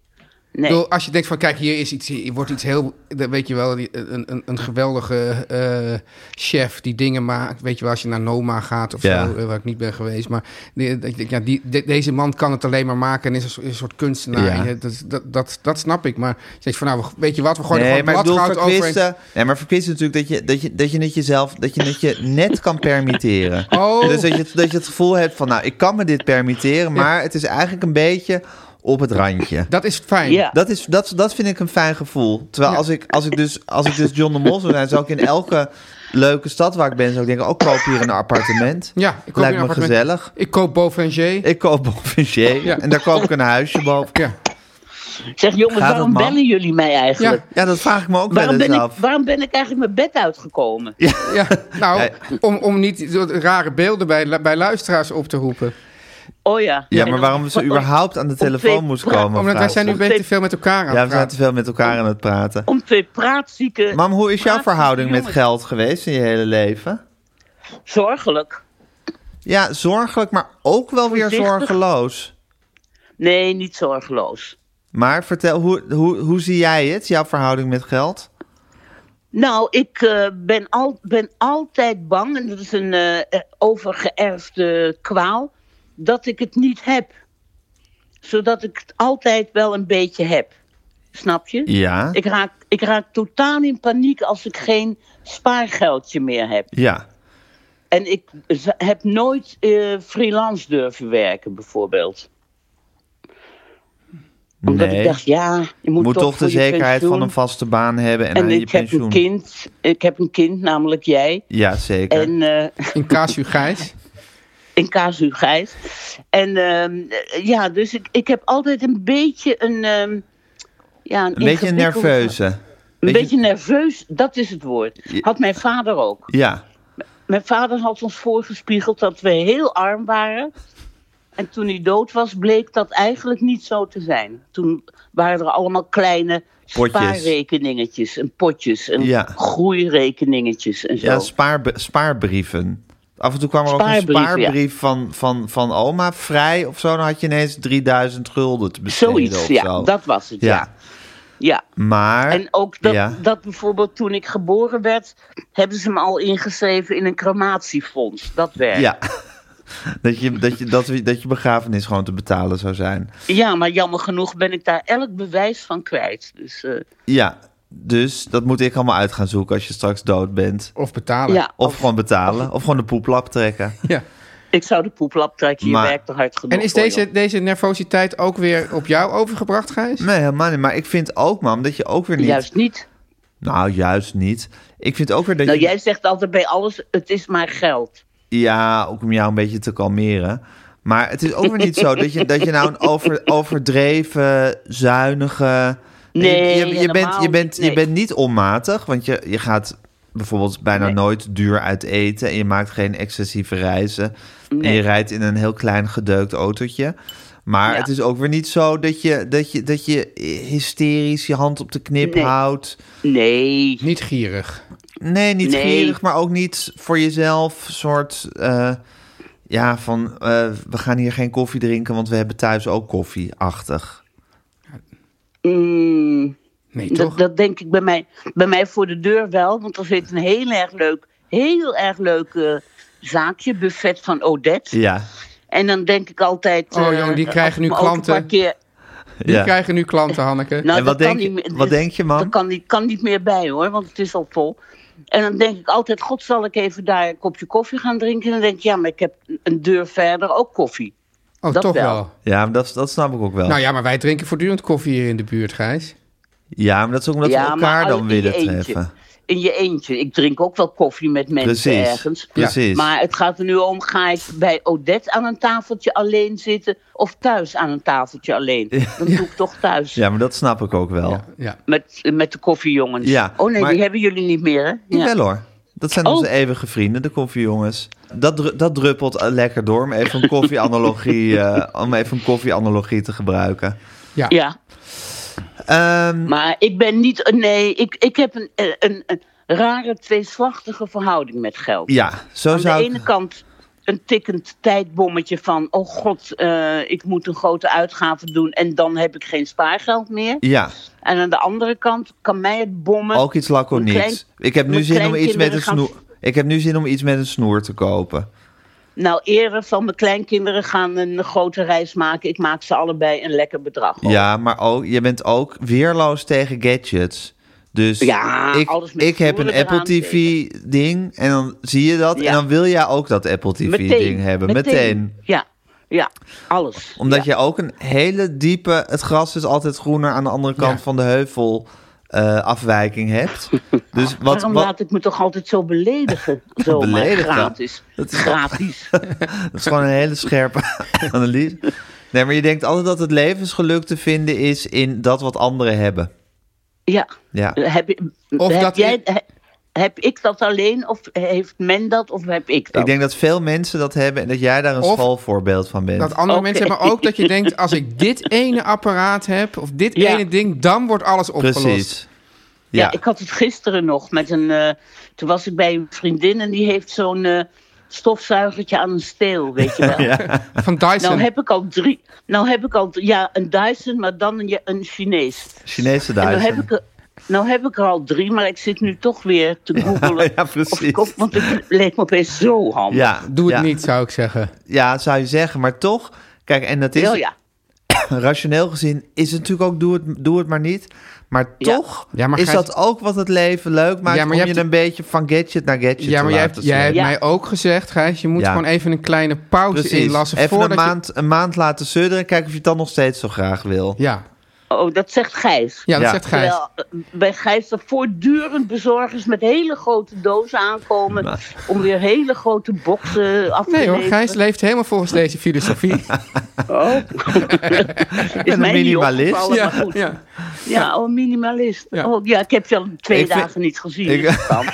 S2: Ik bedoel, als je denkt van, kijk, hier is iets, hier wordt iets heel, dan weet je wel, die- een, een, een geweldige eh, chef die dingen maakt. Weet je wel, als je naar Noma gaat of
S1: Ja.
S2: zo, eh, waar ik niet ben geweest. Maar die- dat je denkt, ja, die, de- deze man kan het alleen maar maken en is een, soort- is een soort kunstenaar.
S1: Ja.
S2: Je- dat, dat, dat, dat snap ik. Maar je zegt van, nou, we- weet je wat, we gooien er
S1: nee, maar
S2: gewoon
S1: ik bedoel,
S2: bladgoud over.
S1: verkwisten. Nee, maar verkwisten is natuurlijk dat je, dat je, dat je het jezelf, dat je het je net kan permitteren.
S2: Oh.
S1: Dus dat je, het- dat je het gevoel hebt van, nou, ik kan me dit permitteren, maar het is eigenlijk een beetje op het randje.
S2: Dat is fijn.
S5: Ja.
S1: Dat, is, dat, dat vind ik een fijn gevoel. Terwijl als, ik, als, ik dus, als ik dus John de Mol zou zijn, zou ik in elke leuke stad waar ik ben, zou ik denken, ook koop hier een appartement.
S2: Ja, ik koop hier
S1: Lijkt
S2: een
S1: me
S2: appartement.
S1: gezellig.
S2: Ik koop Beauvangé.
S1: Ik koop boven
S2: Ja.
S1: en daar koop ik een huisje boven.
S2: Ja.
S5: Zeg jongens,
S1: Gaat het,
S5: waarom
S1: man?
S5: bellen jullie mij eigenlijk?
S1: Ja, dat vraag ik me ook wel
S5: waarom, ben
S1: eens
S5: ik,
S1: af.
S5: waarom ben ik eigenlijk mijn bed uitgekomen?
S2: Ja, nou,
S1: Ja.
S2: om, om niet zo rare beelden bij, bij luisteraars op te roepen.
S5: Oh ja.
S1: Ja,
S5: Nee,
S1: maar
S5: dat-
S1: waarom ze überhaupt aan de telefoon moest komen?
S2: Omdat wij
S1: vraag
S2: zijn nu
S1: ik.
S2: een beetje te veel met elkaar aan
S1: Ja,
S2: het
S1: we zijn te
S2: praten.
S1: veel met elkaar aan het praten.
S5: Om twee praatzieken.
S1: Mam, hoe is jouw
S5: praatzieke
S1: verhouding met
S5: jongens.
S1: geld geweest in je hele leven?
S5: Zorgelijk.
S1: Ja, zorgelijk, maar ook wel weer
S5: Voorzichtig.
S1: zorgeloos.
S5: Nee, niet zorgeloos.
S1: Maar vertel, hoe, hoe, hoe zie jij het, jouw verhouding met geld?
S5: Nou, ik eh, ben, al, ben altijd bang, en dat is een eh, eh, overgeërfde kwaal, dat ik het niet heb. Zodat ik het altijd wel een beetje heb. Snap je?
S1: Ja.
S5: Ik, raak, ik raak totaal in paniek als ik geen spaargeldje meer heb.
S1: Ja.
S5: En ik z- heb nooit eh, freelance durven werken, bijvoorbeeld. Omdat
S1: Nee.
S5: ik dacht, ja, je moet,
S1: moet toch
S5: voor
S1: de
S5: je
S1: zekerheid van
S5: pensioen.
S1: een vaste baan hebben en,
S5: En
S1: aan je
S5: ik heb, een
S1: pensioen.
S5: kind, ik heb een kind, namelijk jij.
S1: Ja, zeker.
S5: En eh,
S2: In casu Gijs.
S5: In Casu Gijs. En ehm, ja, dus ik, ik heb altijd een beetje een. ehm, ja,
S1: een beetje
S5: ingewikkelde-
S1: nerveuze.
S5: Een
S1: beetje-
S5: beetje nerveus, dat is het woord. Had mijn vader ook.
S1: Ja.
S5: Mijn vader had ons voorgespiegeld dat we heel arm waren. En toen hij dood was, bleek dat eigenlijk niet zo te zijn. Toen waren er allemaal kleine
S1: Potjes.
S5: spaarrekeningetjes en potjes en
S1: Ja.
S5: groeirekeningetjes en zo.
S1: Ja, spaarb- spaarbrieven. Af en toe kwam er ook een
S5: Spaarbrieven,
S1: spaarbrief van, van, van oma vrij of zo. Dan had je ineens 3000 gulden te besteden
S5: Zoiets,
S1: of
S5: ja,
S1: zo.
S5: dat was het.
S1: Ja.
S5: ja. ja.
S1: Maar,
S5: En ook dat,
S1: ja.
S5: dat bijvoorbeeld toen ik geboren werd, hebben ze me al ingeschreven in een crematiefonds. Dat werkt.
S1: ja. dat, je, dat, je, dat, we- dat je begrafenis gewoon te betalen zou zijn.
S5: Ja, maar jammer genoeg ben ik daar elk bewijs van kwijt. Dus eh,
S1: Ja, dus dat moet ik allemaal uit gaan zoeken als je straks dood bent.
S2: Of betalen.
S5: ja,
S1: Of gewoon betalen, of gewoon de poeplap trekken.
S2: Ja.
S5: ik zou de poeplap trekken, je
S1: Maar-
S5: werkt er hard genoeg
S2: En is
S5: voor,
S2: deze,
S5: joh.
S2: deze nervositeit ook weer op jou overgebracht, Gijs?
S1: Nee, helemaal niet. Maar ik vind ook, mam, dat je ook weer niet...
S5: Juist niet.
S1: Nou, juist niet. Ik vind ook weer dat
S5: Nou,
S1: je...
S5: jij zegt altijd bij alles, het is maar geld.
S1: Ja, ook om jou een beetje te kalmeren. Maar het is ook weer niet zo dat je, dat je nou een over, overdreven, zuinige...
S5: Nee,
S1: je, je, je, bent,
S5: helemaal
S1: je, bent,
S5: niet, nee.
S1: je bent niet onmatig, want je, je gaat bijvoorbeeld bijna
S5: Nee.
S1: nooit duur uit eten... en je maakt geen excessieve reizen. En
S5: Nee.
S1: je rijdt in een heel klein gedeukt autootje. Maar
S5: Ja.
S1: het is ook weer niet zo dat je, dat je, dat je hysterisch je hand op de knip
S5: Nee.
S1: houdt.
S5: Nee,
S2: Niet gierig.
S1: Nee, niet
S5: Nee.
S1: gierig, maar ook niet voor jezelf soort... eh, ja, van eh, we gaan hier geen koffie drinken, want we hebben thuis ook koffie-achtig.
S5: Mm,
S2: Nee, toch?
S5: dat, dat denk ik bij mij, bij mij voor de deur wel. Want er zit een heel erg leuk, heel erg leuk eh, zaakje, buffet van Odette.
S1: Ja,
S5: En dan denk ik altijd.
S2: Oh,
S5: eh,
S2: jongen, die krijgen nu
S5: maar ook een
S2: klanten.
S5: paar keer-
S2: Die
S1: ja.
S2: krijgen nu klanten, Hanneke.
S5: Nou,
S1: en wat
S5: dat kan
S1: denk, je-
S5: niet meer-
S1: wat
S5: dit-
S1: denk je,
S5: Dat
S1: man?
S5: kan niet, kan niet meer bij hoor, want het is al vol. En dan denk ik altijd: God, zal ik even daar een kopje koffie gaan drinken? En dan denk ik: Ja, maar ik heb een deur verder ook koffie.
S2: oh,
S5: dat
S2: toch wel.
S5: wel.
S1: Ja, maar dat, dat snap ik ook wel.
S2: Nou ja, maar wij drinken voortdurend koffie hier in de buurt, Gijs.
S1: Ja, maar dat is ook omdat
S5: ja,
S1: we
S5: maar
S1: elkaar dan
S5: alleen in je
S1: willen
S5: eentje.
S1: treffen.
S5: In je eentje. Ik drink ook wel koffie met mensen
S1: Precies,
S5: ergens.
S1: precies.
S5: Maar het gaat er nu om: ga ik bij Odette aan een tafeltje alleen zitten of thuis aan een tafeltje alleen? Dan doe ik toch thuis.
S1: Ja, maar dat snap ik ook wel. Ja,
S2: Ja.
S5: Met, met de koffiejongens.
S1: Ja,
S5: oh nee,
S1: maar-
S5: die hebben jullie niet meer, hè? Ja.
S1: Wel hoor. Dat zijn
S5: Oh.
S1: onze eeuwige vrienden, de koffiejongens. Dat, dru- dat druppelt eh, lekker door, om even een koffieanalogie, eh, om even een koffieanalogie te gebruiken.
S5: Ja,
S1: Ehm,
S5: maar ik ben niet. Nee, ik, ik heb een, eh, een, een rare tweeslachtige verhouding met geld.
S1: ja, zo
S5: Aan de
S1: zou ik...
S5: ene kant een tikkend tijdbommetje van: oh god, eh, ik moet een grote uitgave doen en dan heb ik geen spaargeld meer.
S1: Ja,
S5: En aan de andere kant kan mij het bommen.
S1: ook iets laconieks.
S5: Mijn klein-
S1: ik, heb nu
S5: mijn
S1: zin om iets met een
S5: kleinkinderen gaan-
S1: snoer, ik heb nu zin om iets met een snoer te kopen.
S5: Nou, eerder van mijn kleinkinderen gaan een grote reis maken. Ik maak ze allebei een lekker bedrag. over.
S1: Ja, maar ook, je bent ook weerloos tegen gadgets. Dus
S5: Ja,
S1: ik,
S5: alles met
S1: ik heb een
S5: snoeren
S1: Apple
S5: eraan,
S1: TV ding en dan zie je dat
S5: Ja.
S1: en dan wil jij ook dat Apple TV
S5: Meteen,
S1: ding hebben. Meteen.
S5: Ja. Ja, alles.
S1: Omdat je ook een hele diepe, het gras is altijd groener aan de andere kant
S2: Ja.
S1: van de heuvel eh, afwijking hebt. Dus wat,
S5: Waarom
S1: wat
S5: laat ik me toch altijd zo beledigen? Zomaar
S1: Beledigen?
S5: gratis.
S1: Dat is-
S5: gratis.
S1: dat is gewoon een hele scherpe analyse. Nee, maar je denkt altijd dat het levensgeluk te vinden is in dat wat anderen hebben.
S5: ja.
S1: Ja.
S5: Heb, je-
S2: Of
S5: heb,
S2: dat-
S5: jij, he- heb ik dat alleen of heeft men dat of heb ik dat?
S1: Ik denk dat veel mensen dat hebben en dat jij daar een
S2: Of-
S1: schoolvoorbeeld van bent.
S2: Dat andere
S5: Oké.
S2: mensen hebben ook dat je denkt, als ik dit ene apparaat heb, of dit
S5: Ja.
S2: ene ding, dan wordt alles opgelost.
S1: Precies.
S5: ja.
S1: Ja,
S5: ik had het gisteren nog met een. eh, toen was ik bij een vriendin en die heeft zo'n eh, stofzuigertje aan een steel, weet je wel.
S2: Van Dyson.
S5: Nou heb ik al drie. Nou heb ik al. Ja, een Dyson, maar dan een, een Chinees.
S1: Chinese
S5: En nou,
S1: Duitsers.
S5: heb ik er, nou heb ik er al drie, maar ik zit nu toch weer te googelen.
S1: ja,
S5: Of ik op,
S1: precies.
S5: want het leek me opeens zo handig.
S1: Ja,
S2: Doe het
S1: ja.
S2: niet, zou ik zeggen.
S1: Ja, zou je zeggen, maar toch. Kijk, en dat is
S5: Wel ja.
S1: rationeel gezien is het natuurlijk ook doe het, doe het maar niet. Maar
S5: Ja.
S1: toch
S2: Ja, maar
S1: is
S2: Gijs-
S1: dat ook wat het leven leuk maakt
S2: Ja, maar
S1: om je
S2: je hebt-
S1: een beetje van gadget naar gadget
S2: Ja, maar
S1: te
S2: jij
S1: laten
S2: hebt, jij hebt
S1: slepen.
S5: Ja.
S2: mij ook gezegd, Gijs, je moet
S1: Ja.
S2: gewoon even een kleine pauze
S1: Precies.
S2: inlassen
S1: Even
S2: voordat
S1: een maand, een maand laten sudderen. Kijken of je het dan nog steeds zo graag wil.
S2: je... Ja,
S5: Oh, dat zegt Gijs.
S2: ja dat
S1: Ja.
S2: zegt Gijs.
S5: Terwijl eh, bij Gijs er voortdurend bezorgers met hele grote dozen aankomen. Om weer hele grote boxen af te
S2: Nee hoor,
S5: leveren.
S2: Gijs leeft helemaal volgens deze filosofie.
S5: Oh. Is
S1: een
S5: mij niet
S1: minimalist.
S5: opgevallen,
S2: ja,
S5: maar goed. Ja,
S2: ja.
S5: oh, een minimalist.
S2: Ja.
S5: Oh, ja, ik heb je al twee
S1: Ik vind-
S5: dagen niet gezien.
S1: Ik-
S5: dus dan.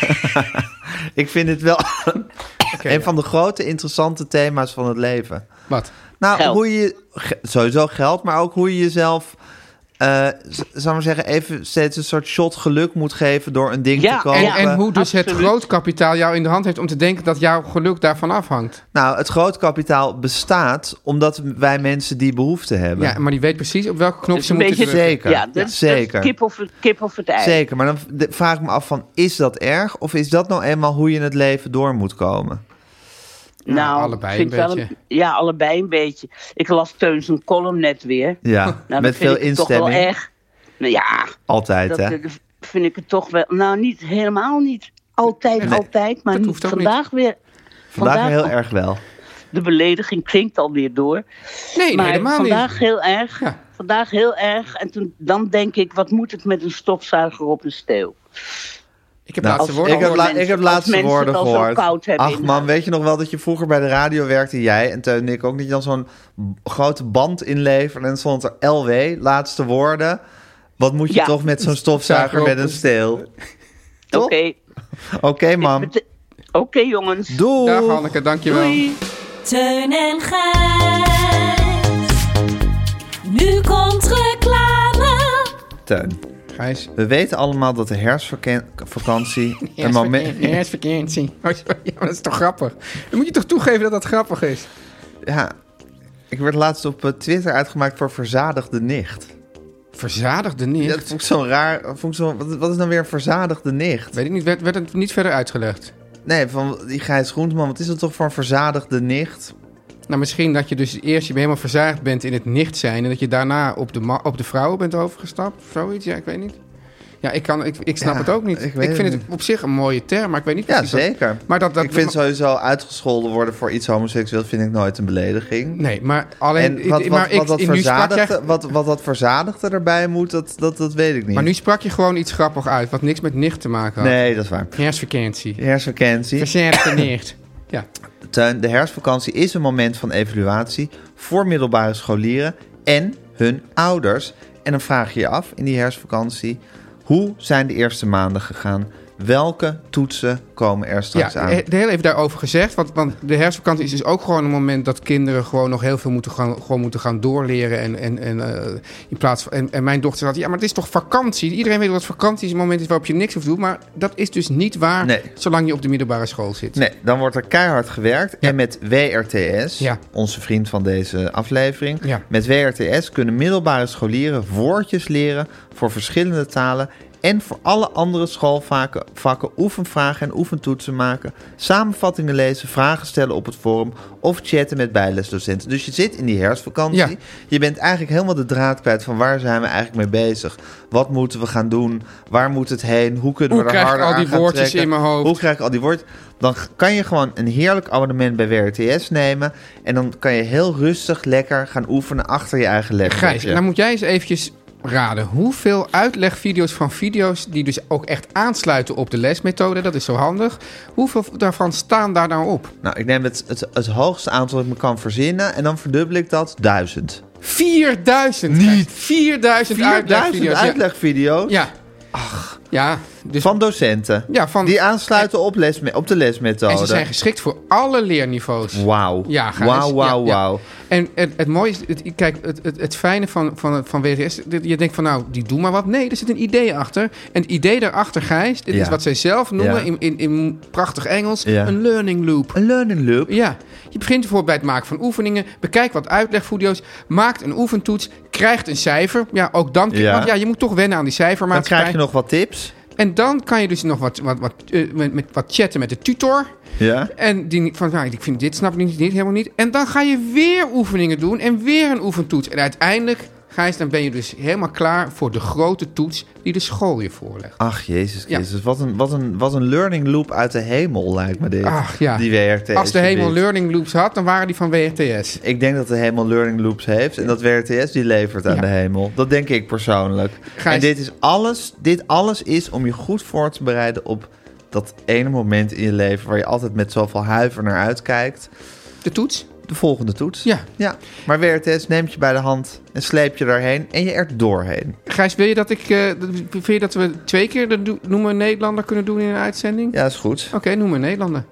S1: Ik vind het wel een
S2: ja.
S1: van de grote interessante thema's van het leven.
S2: Wat?
S1: Nou,
S5: Geld.
S1: hoe je ge- sowieso geld, maar ook hoe je jezelf, eh z- zou ik maar zeggen, even steeds een soort shot geluk moet geven door een ding
S5: Ja,
S1: te kopen.
S2: En, en hoe dus het
S5: Absoluut.
S2: grootkapitaal jou in de hand heeft om te denken dat jouw geluk daarvan afhangt.
S1: Nou, het grootkapitaal bestaat omdat wij mensen die behoefte hebben.
S2: Ja, maar die weet precies op welke knop
S5: Dus
S2: ze moeten drukken.
S1: Zeker,
S5: Ja, dat,
S1: ja,
S5: dat is
S1: zeker.
S5: kip of, het- kip of het ei.
S1: Zeker, maar dan v- de- vraag ik me af van, is dat erg? Of is dat nou eenmaal hoe je in het leven door moet komen?
S5: Nou,
S2: allebei
S5: ik vind
S2: een
S5: wel
S2: beetje.
S5: ja, allebei een beetje. Ik las Teun zijn column net weer.
S1: Ja, met
S5: Nou, dat vind
S1: veel
S5: ik het Toch wel
S1: instemming.
S5: erg. Nou ja,
S1: Altijd,
S5: dat
S1: hè?
S5: eh, vind ik het toch wel. Nou, niet helemaal niet altijd, altijd, maar
S2: dat
S5: niet,
S2: hoeft ook
S5: vandaag weer.
S1: Vandaag heel erg wel.
S5: De belediging klinkt alweer door.
S2: Nee, nee,
S5: maar
S2: helemaal
S5: vandaag
S2: niet.
S5: heel erg.
S2: Ja.
S5: Vandaag heel erg. En toen, dan denk ik, wat moet het met een stofzuiger op een steel?
S2: Ik heb
S1: Nou,
S2: laatste
S5: als-
S2: woorden.
S1: ik, heb
S5: Als
S1: la-
S5: mensen-
S1: ik heb
S5: als
S1: laatste
S5: mensen
S1: woorden
S5: het al zo
S1: gehoord.
S5: koud hebben
S1: Ach
S5: in
S1: man,
S5: huis.
S1: weet je nog wel dat je vroeger bij de radio werkte, jij en Teun en ik ook, dat je dan zo'n b- grote band inleverde en dan stond er LW, laatste woorden. Wat moet je
S5: Ja.
S1: toch met zo'n stofzuiger
S2: op
S1: met
S2: een
S1: een steel?
S5: Oké,
S1: Toch?
S2: Oh.
S1: Oké, mam.
S5: bete- oké jongens.
S1: Doei.
S2: Dag Hanneke, dankjewel.
S5: Doei.
S4: Teun en Gijs. Nu komt reclame.
S1: Teun.
S2: Gijs.
S1: We weten allemaal dat de herfstvakantie een moment...
S2: Herfstvakantie. Oh, sorry, ja, maar dat is toch grappig? Dan moet je toch toegeven dat dat grappig is?
S1: Ja, ik werd laatst op eh, Twitter uitgemaakt voor verzadigde nicht.
S2: Verzadigde
S1: Dat
S2: nicht?
S1: vond ik zo'n raar... Vond ik zo, wat, wat is nou weer een verzadigde nicht?
S2: Weet ik niet, werd, werd het niet verder uitgelegd?
S1: Nee, van die Gijs Groenteman, wat is dat toch voor een verzadigde nicht?
S2: Nou, misschien dat je dus eerst je helemaal verzaagd bent in het nicht zijn... en dat je daarna op de, ma- op de vrouwen bent overgestapt of zoiets. Ja, ik weet niet. Ja, ik, kan, ik, ik snap
S1: Ja,
S2: het ook niet.
S1: ik
S2: Ik,
S1: weet het
S2: vind het
S1: niet.
S2: op zich een mooie term, maar ik weet niet
S1: Ja,
S2: precies wat-
S1: zeker.
S2: Maar dat, dat,
S1: ik vind sowieso uitgescholden worden voor iets homoseksueel vind ik nooit een belediging.
S2: Nee, maar alleen...
S1: en wat, wat,
S2: maar, ik,
S1: wat, dat
S2: nu sprak jij-
S1: verzadigde, wat, wat dat verzadigde erbij moet, dat, dat, dat weet ik niet.
S2: maar nu sprak je gewoon iets grappig uit... wat niks met nicht te maken had.
S1: Nee, dat is waar.
S2: Herfstvakantie.
S1: Herfstvakantie.
S2: Verzaagde nicht. Ja.
S1: Teun, de herfstvakantie is een moment van evaluatie voor middelbare scholieren en hun ouders. En dan vraag je je af in die herfstvakantie, hoe zijn de eerste maanden gegaan? Welke toetsen komen er straks
S2: Ja,
S1: aan?
S2: he- heel even daarover gezegd. Want, want de herfstvakantie is dus ook gewoon een moment dat kinderen gewoon nog heel veel moeten gaan, gewoon moeten gaan doorleren. En, en, en, eh, in plaats van, en, en mijn dochter had, ja, maar het is toch vakantie? Iedereen weet dat vakantie is een moment is waarop je niks hoeft te doen. Maar dat is dus niet waar
S1: Nee.
S2: zolang je op de middelbare school zit.
S1: Nee, dan wordt er keihard gewerkt. En met WRTS,
S2: Ja.
S1: onze vriend van deze aflevering...
S2: Ja.
S1: met WRTS kunnen middelbare scholieren woordjes leren... voor verschillende talen en voor alle andere schoolvakken vakken, oefenvragen en oefentoetsen maken, samenvattingen lezen, vragen stellen op het forum of chatten met bijlesdocenten. Dus je zit in die herfstvakantie.
S2: Ja.
S1: Je bent eigenlijk helemaal de draad kwijt van waar zijn we eigenlijk mee bezig? Wat moeten we gaan doen? Waar moet het heen? Hoe kunnen
S2: Hoe
S1: we er
S2: krijg ik
S1: harder
S2: al
S1: aan
S2: die
S1: gaan
S2: woordjes
S1: trekken?
S2: in mijn hoofd?
S1: Hoe krijg ik al die woord? Dan g- kan je gewoon een heerlijk abonnement bij WRTS nemen. En dan kan je heel rustig lekker gaan oefenen achter je eigen laptopje.
S2: Gijs, nou moet jij eens eventjes raden. Hoeveel uitlegvideo's van video's die dus ook echt aansluiten op de lesmethode, dat is zo handig. Hoeveel daarvan staan daar nou op?
S1: Nou, ik neem het, het, het hoogste aantal dat ik me kan verzinnen. En dan verdubbel ik dat. Duizend.
S2: 4000. Gijs.
S1: Niet.
S2: 4000
S1: 4000
S2: uitlegvideo's.
S1: uitlegvideo's
S2: Ja. Ach. Ja. Dus
S1: van docenten.
S2: Ja, van-
S1: die aansluiten op, lesme- op de lesmethode.
S2: en ze zijn geschikt voor alle leerniveaus.
S1: Wauw.
S2: Ja, Gijs.
S1: Wauw, wauw,
S2: Ja, ja.
S1: wauw.
S2: En het, het mooie is, het, kijk, het, het, het fijne van, van, van WRS, dit- je denkt van nou, die doen maar wat. Nee, er zit een idee achter. En het idee daarachter, Gijs, dit
S1: Ja.
S2: is wat zij zelf noemen
S1: Ja.
S2: in, in, in prachtig Engels,
S1: Ja.
S2: een learning loop.
S1: Een learning loop.
S2: Ja, je begint bijvoorbeeld bij het maken van oefeningen, bekijk wat uitlegvideo's, maakt een oefentoets, krijgt een cijfer. Ja, ook dan,
S1: Ja.
S2: want ja, je moet toch wennen aan die
S1: Dan
S2: cijfermaatschappij.
S1: krijg je nog wat tips.
S2: En dan kan je dus nog wat, wat, wat, eh, met, met wat chatten met de tutor.
S1: Ja.
S2: En die van, nou, ik vind dit snap ik niet, dit helemaal niet. En dan ga je weer oefeningen doen en weer een oefentoets. En uiteindelijk, Gijs, dan ben je dus helemaal klaar voor de grote toets die de school je voorlegt.
S1: Ach, Jezus
S2: Ja.
S1: Christus. Wat, een, wat, een, wat een learning loop uit de hemel lijkt me dit.
S2: Ach ja,
S1: Die WRTS.
S2: als de hemel
S1: biedt.
S2: learning loops had, dan waren die van WRTS.
S1: Ik denk dat de hemel learning loops heeft en dat WRTS die levert aan
S2: Ja.
S1: de hemel. Dat denk ik persoonlijk.
S2: Gijs-
S1: En dit is alles, dit alles is om je goed voor te bereiden op dat ene moment in je leven waar je altijd met zoveel huiver naar uitkijkt.
S2: De toets?
S1: De volgende toets.
S2: Ja.
S1: ja. Maar WRTS neemt je bij de hand en sleep je daarheen en je er doorheen.
S2: Gijs, wil je dat, ik, eh, dat- vind je dat we twee keer de do- Noem een Nederlander kunnen doen in een uitzending?
S1: Ja, is goed.
S2: Oké, noem een Nederlander.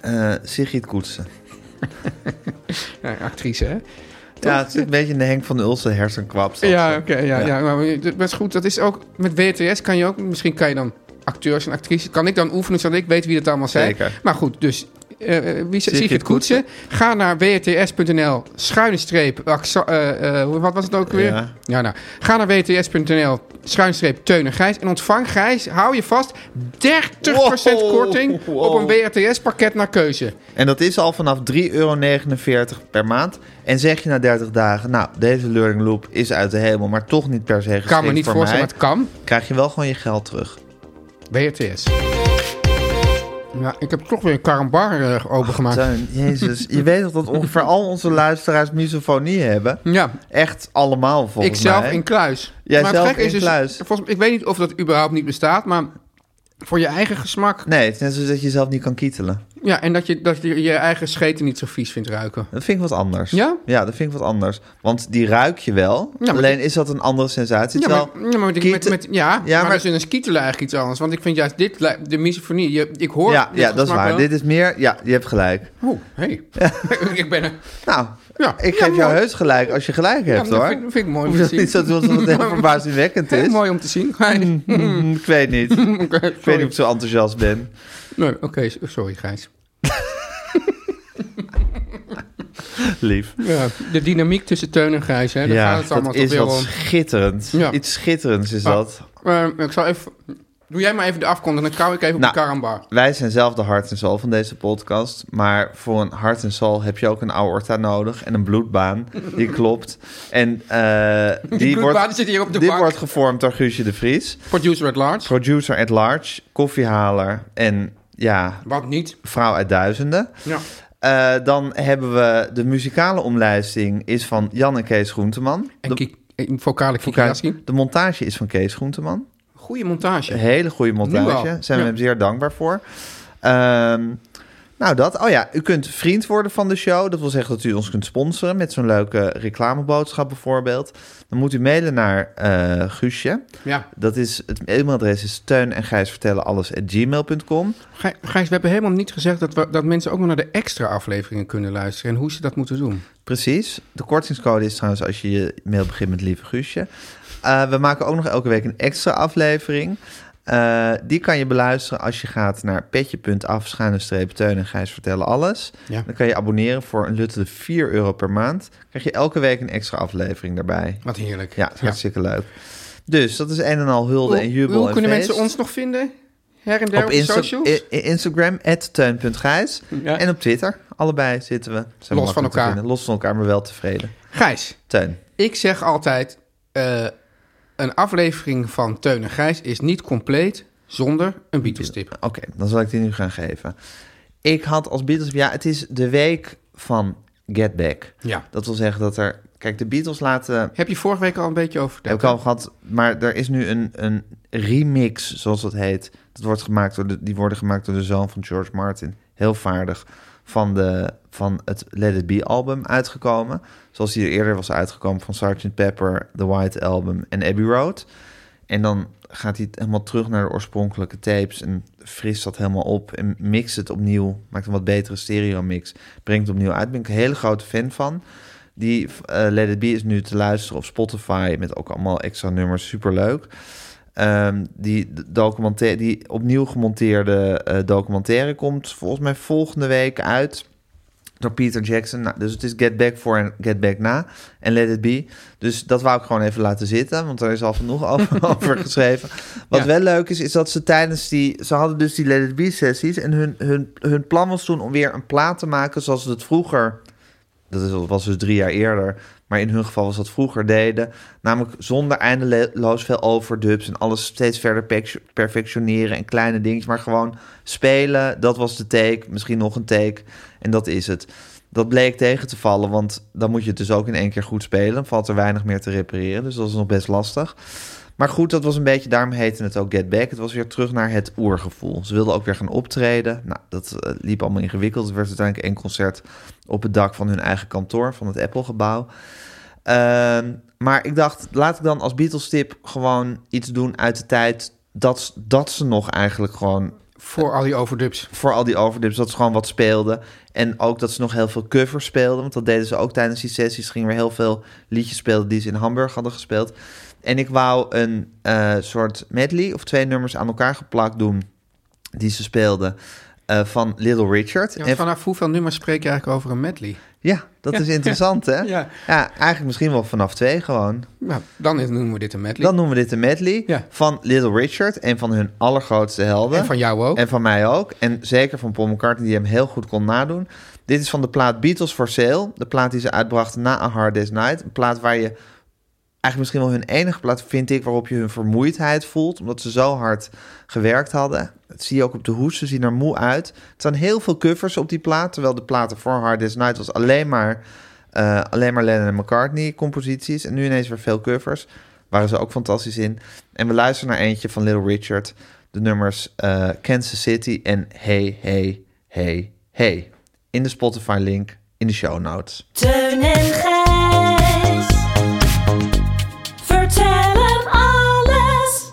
S1: Eh Sigrid Koetsen.
S2: Ja, actrice, hè?
S1: Ja, het zit een beetje in de Henk van Ulsen hersenkwap.
S2: Ja, oké. ja, ja.
S1: eh, Ja.
S2: maar dat is goed. Dat is ook met WTS kan je ook. Misschien kan je dan acteurs en actrices. Kan ik dan oefenen zodat ik weet wie dat allemaal zijn.
S1: Zeker.
S2: Maar goed, dus. eh eh, wie
S1: Sigrid
S2: zegt Sigrid Koetsen? Ga naar wts.nl schuine streep. acce- eh, eh, hoe- wat was het ook weer?
S1: Ja.
S2: nou. Ga naar wts.nl schuine streep Teun en Gijs. En ontvang Gijs, hou je vast, 30%
S1: Wow,
S2: korting op een
S1: wow.
S2: WTS pakket naar keuze.
S1: En dat is al vanaf 3,49 euro per maand. En zeg je na 30 dagen, nou, deze learning loop is uit de hemel, maar toch niet per se geschikt
S2: Kan me niet
S1: voor
S2: voorstellen,
S1: mij,
S2: maar het kan.
S1: krijg je wel gewoon je geld terug.
S2: WRTS. Ja, ik heb toch weer een karambar eh, opengemaakt.
S1: Teun, jezus, je weet toch dat ongeveer al onze luisteraars misofonie hebben?
S2: ja,
S1: Echt allemaal, volgens
S2: ikzelf
S1: mij.
S2: in kluis.
S1: Jij
S2: maar het
S1: zelf
S2: gekke is
S1: in
S2: dus,
S1: kluis.
S2: Volgens, ik weet niet of dat überhaupt niet bestaat, maar voor je eigen gesmak.
S1: Nee, het is net zoals dat je jezelf niet kan kietelen.
S2: Ja, en dat je dat je, je eigen scheten niet zo vies vindt ruiken.
S1: Dat vind ik wat anders.
S2: Ja?
S1: Ja, dat vind ik wat anders. Want die ruik je wel.
S2: maar-
S1: Alleen is dat een andere sensatie.
S2: Ja, maar,
S1: terwijl
S2: ja, maar, met, met,
S1: kieten-
S2: met- ja, maar,
S1: maar-
S2: dat is een skietelen eigenlijk iets anders. Want ik vind juist dit, li- de misofonie, je, ik hoor
S1: ja,
S2: dit
S1: ja, dat is
S2: gesmak
S1: waar.
S2: wel.
S1: Dit is meer... Ja, je hebt gelijk.
S2: Oeh, hey. ik ben er.
S1: Nou,
S2: Ja,
S1: ik
S2: ja,
S1: geef jou
S2: mooi.
S1: heus gelijk als je gelijk
S2: Ja,
S1: hebt,
S2: dat
S1: hoor.
S2: vind, vind ik mooi om
S1: Hoef
S2: te
S1: dat niet
S2: zien.
S1: zo te doen alsof het heel verbazingwekkend
S2: Heel
S1: is.
S2: mooi om te zien. Gijs.
S1: Mm, ik weet niet. Ik
S2: Oké,
S1: weet
S2: sorry.
S1: niet of ik zo enthousiast ben.
S2: Nee, oké, s- sorry Gijs.
S1: Lief.
S2: Ja, de dynamiek tussen Teun en Gijs, hè, daar gaat
S1: Ja,
S2: het allemaal
S1: dat
S2: toch
S1: is
S2: weer
S1: wat
S2: om.
S1: schitterend.
S2: Ja.
S1: Iets schitterends is
S2: Ah.
S1: dat.
S2: Eh, ik zal even... Doe jij maar even de afkondiging, dan kauw ik even
S1: Nou.
S2: op de karambar.
S1: Wij zijn zelf de hart en ziel van deze podcast. Maar voor een hart en ziel heb je ook een aorta nodig. En een bloedbaan. Die klopt. En eh, die,
S2: bloedbaan
S1: wordt,
S2: zit hier op de
S1: die
S2: bank.
S1: wordt gevormd door Guusje de Vries.
S2: Producer at large.
S1: Producer at large. Koffiehaler. En ja,
S2: Wat niet.
S1: vrouw uit duizenden.
S2: Ja.
S1: Eh, dan hebben we de muzikale omlijsting is van Jan en Kees Groenteman.
S2: En
S1: de,
S2: ki- eh, vocale Kikiraski.
S1: de montage is van Kees Groenteman.
S2: Goeie
S1: Een
S2: montage.
S1: hele goede
S2: Nu al.
S1: montage. Zijn we
S2: Ja.
S1: hem zeer dankbaar voor. Ehm, nou, dat. Oh ja, u kunt vriend worden van de show. Dat wil zeggen dat u ons kunt sponsoren met zo'n leuke reclameboodschap bijvoorbeeld. Dan moet u mailen naar eh, Guusje.
S2: Ja.
S1: Dat is, het mailadres is steun en gijs vertellen alles at gmail.com.
S2: Gij- Gijs, we hebben helemaal niet gezegd dat, we, dat mensen ook nog naar de extra afleveringen kunnen luisteren. En hoe ze dat moeten doen.
S1: Precies. De kortingscode is trouwens als je je mail begint met lieve Guusje. Eh, we maken ook nog elke week een extra aflevering. Eh, die kan je beluisteren als je gaat naar petje.af, schuine streep, Teun en Gijs vertellen alles.
S2: Ja.
S1: Dan kan je abonneren voor een luttele 4 euro per maand. Krijg je elke week een extra aflevering daarbij.
S2: Wat heerlijk.
S1: Ja, dat is hartstikke leuk. Dus dat is een en al hulde en jubel
S2: Hoe
S1: en
S2: kunnen
S1: feest.
S2: mensen ons nog vinden? her en der op, de
S1: Insta- eh,
S2: socials?
S1: i- i- Instagram, teun.gijs.
S2: Ja.
S1: En op Twitter, allebei zitten we. Zijn we
S2: van
S1: makkelijk te
S2: elkaar.
S1: vinden. Los van elkaar, maar wel tevreden.
S2: Gijs,
S1: Teun.
S2: ik zeg altijd... eh, een aflevering van Teun en Gijs is niet compleet zonder een Beatles-tip.
S1: Oké, dan zal ik die nu gaan geven. Ik had als Beatles... Ja, het is de week van Get Back.
S2: Ja.
S1: Dat wil zeggen dat er... Kijk, de Beatles laten...
S2: Heb je vorige week al een beetje over verteld?
S1: Heb ik al gehad, maar er is nu een, een remix, zoals dat heet. Dat wordt gemaakt door de, die worden gemaakt door de zoon van George Martin. Heel vaardig. Van, de, van het Let It Be album uitgekomen. Zoals die er eerder was uitgekomen van Sgt. Pepper, The White Album en Abbey Road. En dan gaat hij het helemaal terug naar de oorspronkelijke tapes en frist dat helemaal op en mixt het opnieuw. Maakt een wat betere stereo mix, brengt het opnieuw uit. Ben ik een hele grote fan van. Die eh, Let It Be is nu te luisteren op Spotify met ook allemaal extra nummers, superleuk. Ehm, die, d- documentaire, die opnieuw gemonteerde eh, documentaire komt volgens mij volgende week uit door Peter Jackson. Nou, dus het is Get Back voor en Get Back na. En Let It Be. Dus dat wou ik gewoon even laten zitten. Want er is al genoeg over, over geschreven. Wat
S2: Ja.
S1: wel leuk is, is dat ze tijdens die... Ze hadden dus die Let It Be sessies. En hun, hun, hun plan was toen om weer een plaat te maken zoals het vroeger... Dat is, was dus drie jaar eerder. Maar in hun geval was dat vroeger deden. Namelijk zonder eindeloos veel overdubs. En alles steeds verder pec- perfectioneren. En kleine dingetjes. Maar gewoon spelen. Dat was de take. Misschien nog een take. En dat is het. Dat bleek tegen te vallen. Want dan moet je het dus ook in één keer goed spelen. Dan valt er weinig meer te repareren. Dus dat is nog best lastig. Maar goed, dat was een beetje, daarom heette het ook Get Back. Het was weer terug naar het oergevoel. Ze wilden ook weer gaan optreden. Nou, dat eh, liep allemaal ingewikkeld. Het werd uiteindelijk één concert op het dak van hun eigen kantoor, van het Apple-gebouw. Ehm, maar ik dacht, laat ik dan als Beatles-tip gewoon iets doen uit de tijd dat, dat ze nog eigenlijk gewoon
S2: Voor al die overdubs.
S1: voor al die overdubs, dat ze gewoon wat speelden. En ook dat ze nog heel veel covers speelden. Want dat deden ze ook tijdens die sessies. Ze gingen weer heel veel liedjes spelen die ze in Hamburg hadden gespeeld. En ik wou een eh, soort medley of twee nummers aan elkaar geplakt doen. Die ze speelden eh, van Little Richard.
S2: Ja,
S1: en
S2: want vanaf hoeveel nummers spreek je eigenlijk over een medley?
S1: ja dat is interessant hè?
S2: Ja.
S1: eigenlijk misschien wel vanaf twee gewoon.
S2: Nou, dan is- noemen we dit een medley.
S1: Dan noemen we dit een medley
S2: Ja.
S1: van Little Richard. Een van hun allergrootste helden.
S2: En van jou ook.
S1: En van mij ook. En zeker van Paul McCartney, die hem heel goed kon nadoen. Dit is van de plaat Beatles for Sale. De plaat die ze uitbrachten na A Hard Day's Night. Een plaat waar je eigenlijk misschien wel hun enige plaat vind ik... waarop je hun vermoeidheid voelt, omdat ze zo hard gewerkt hadden. Dat zie je ook op de hoes, ze zien er moe uit. Er staan heel veel covers op die plaat... terwijl de platen voor Hard Day's Night was alleen maar... eh, alleen maar Lennon en McCartney composities. En nu ineens weer veel covers. Waren ze ook fantastisch in. En we luisteren naar eentje van Little Richard. De nummers eh, Kansas City en Hey, Hey, Hey, Hey. In de Spotify link in de show notes.
S4: Teun en Gijs. Vertel hem alles.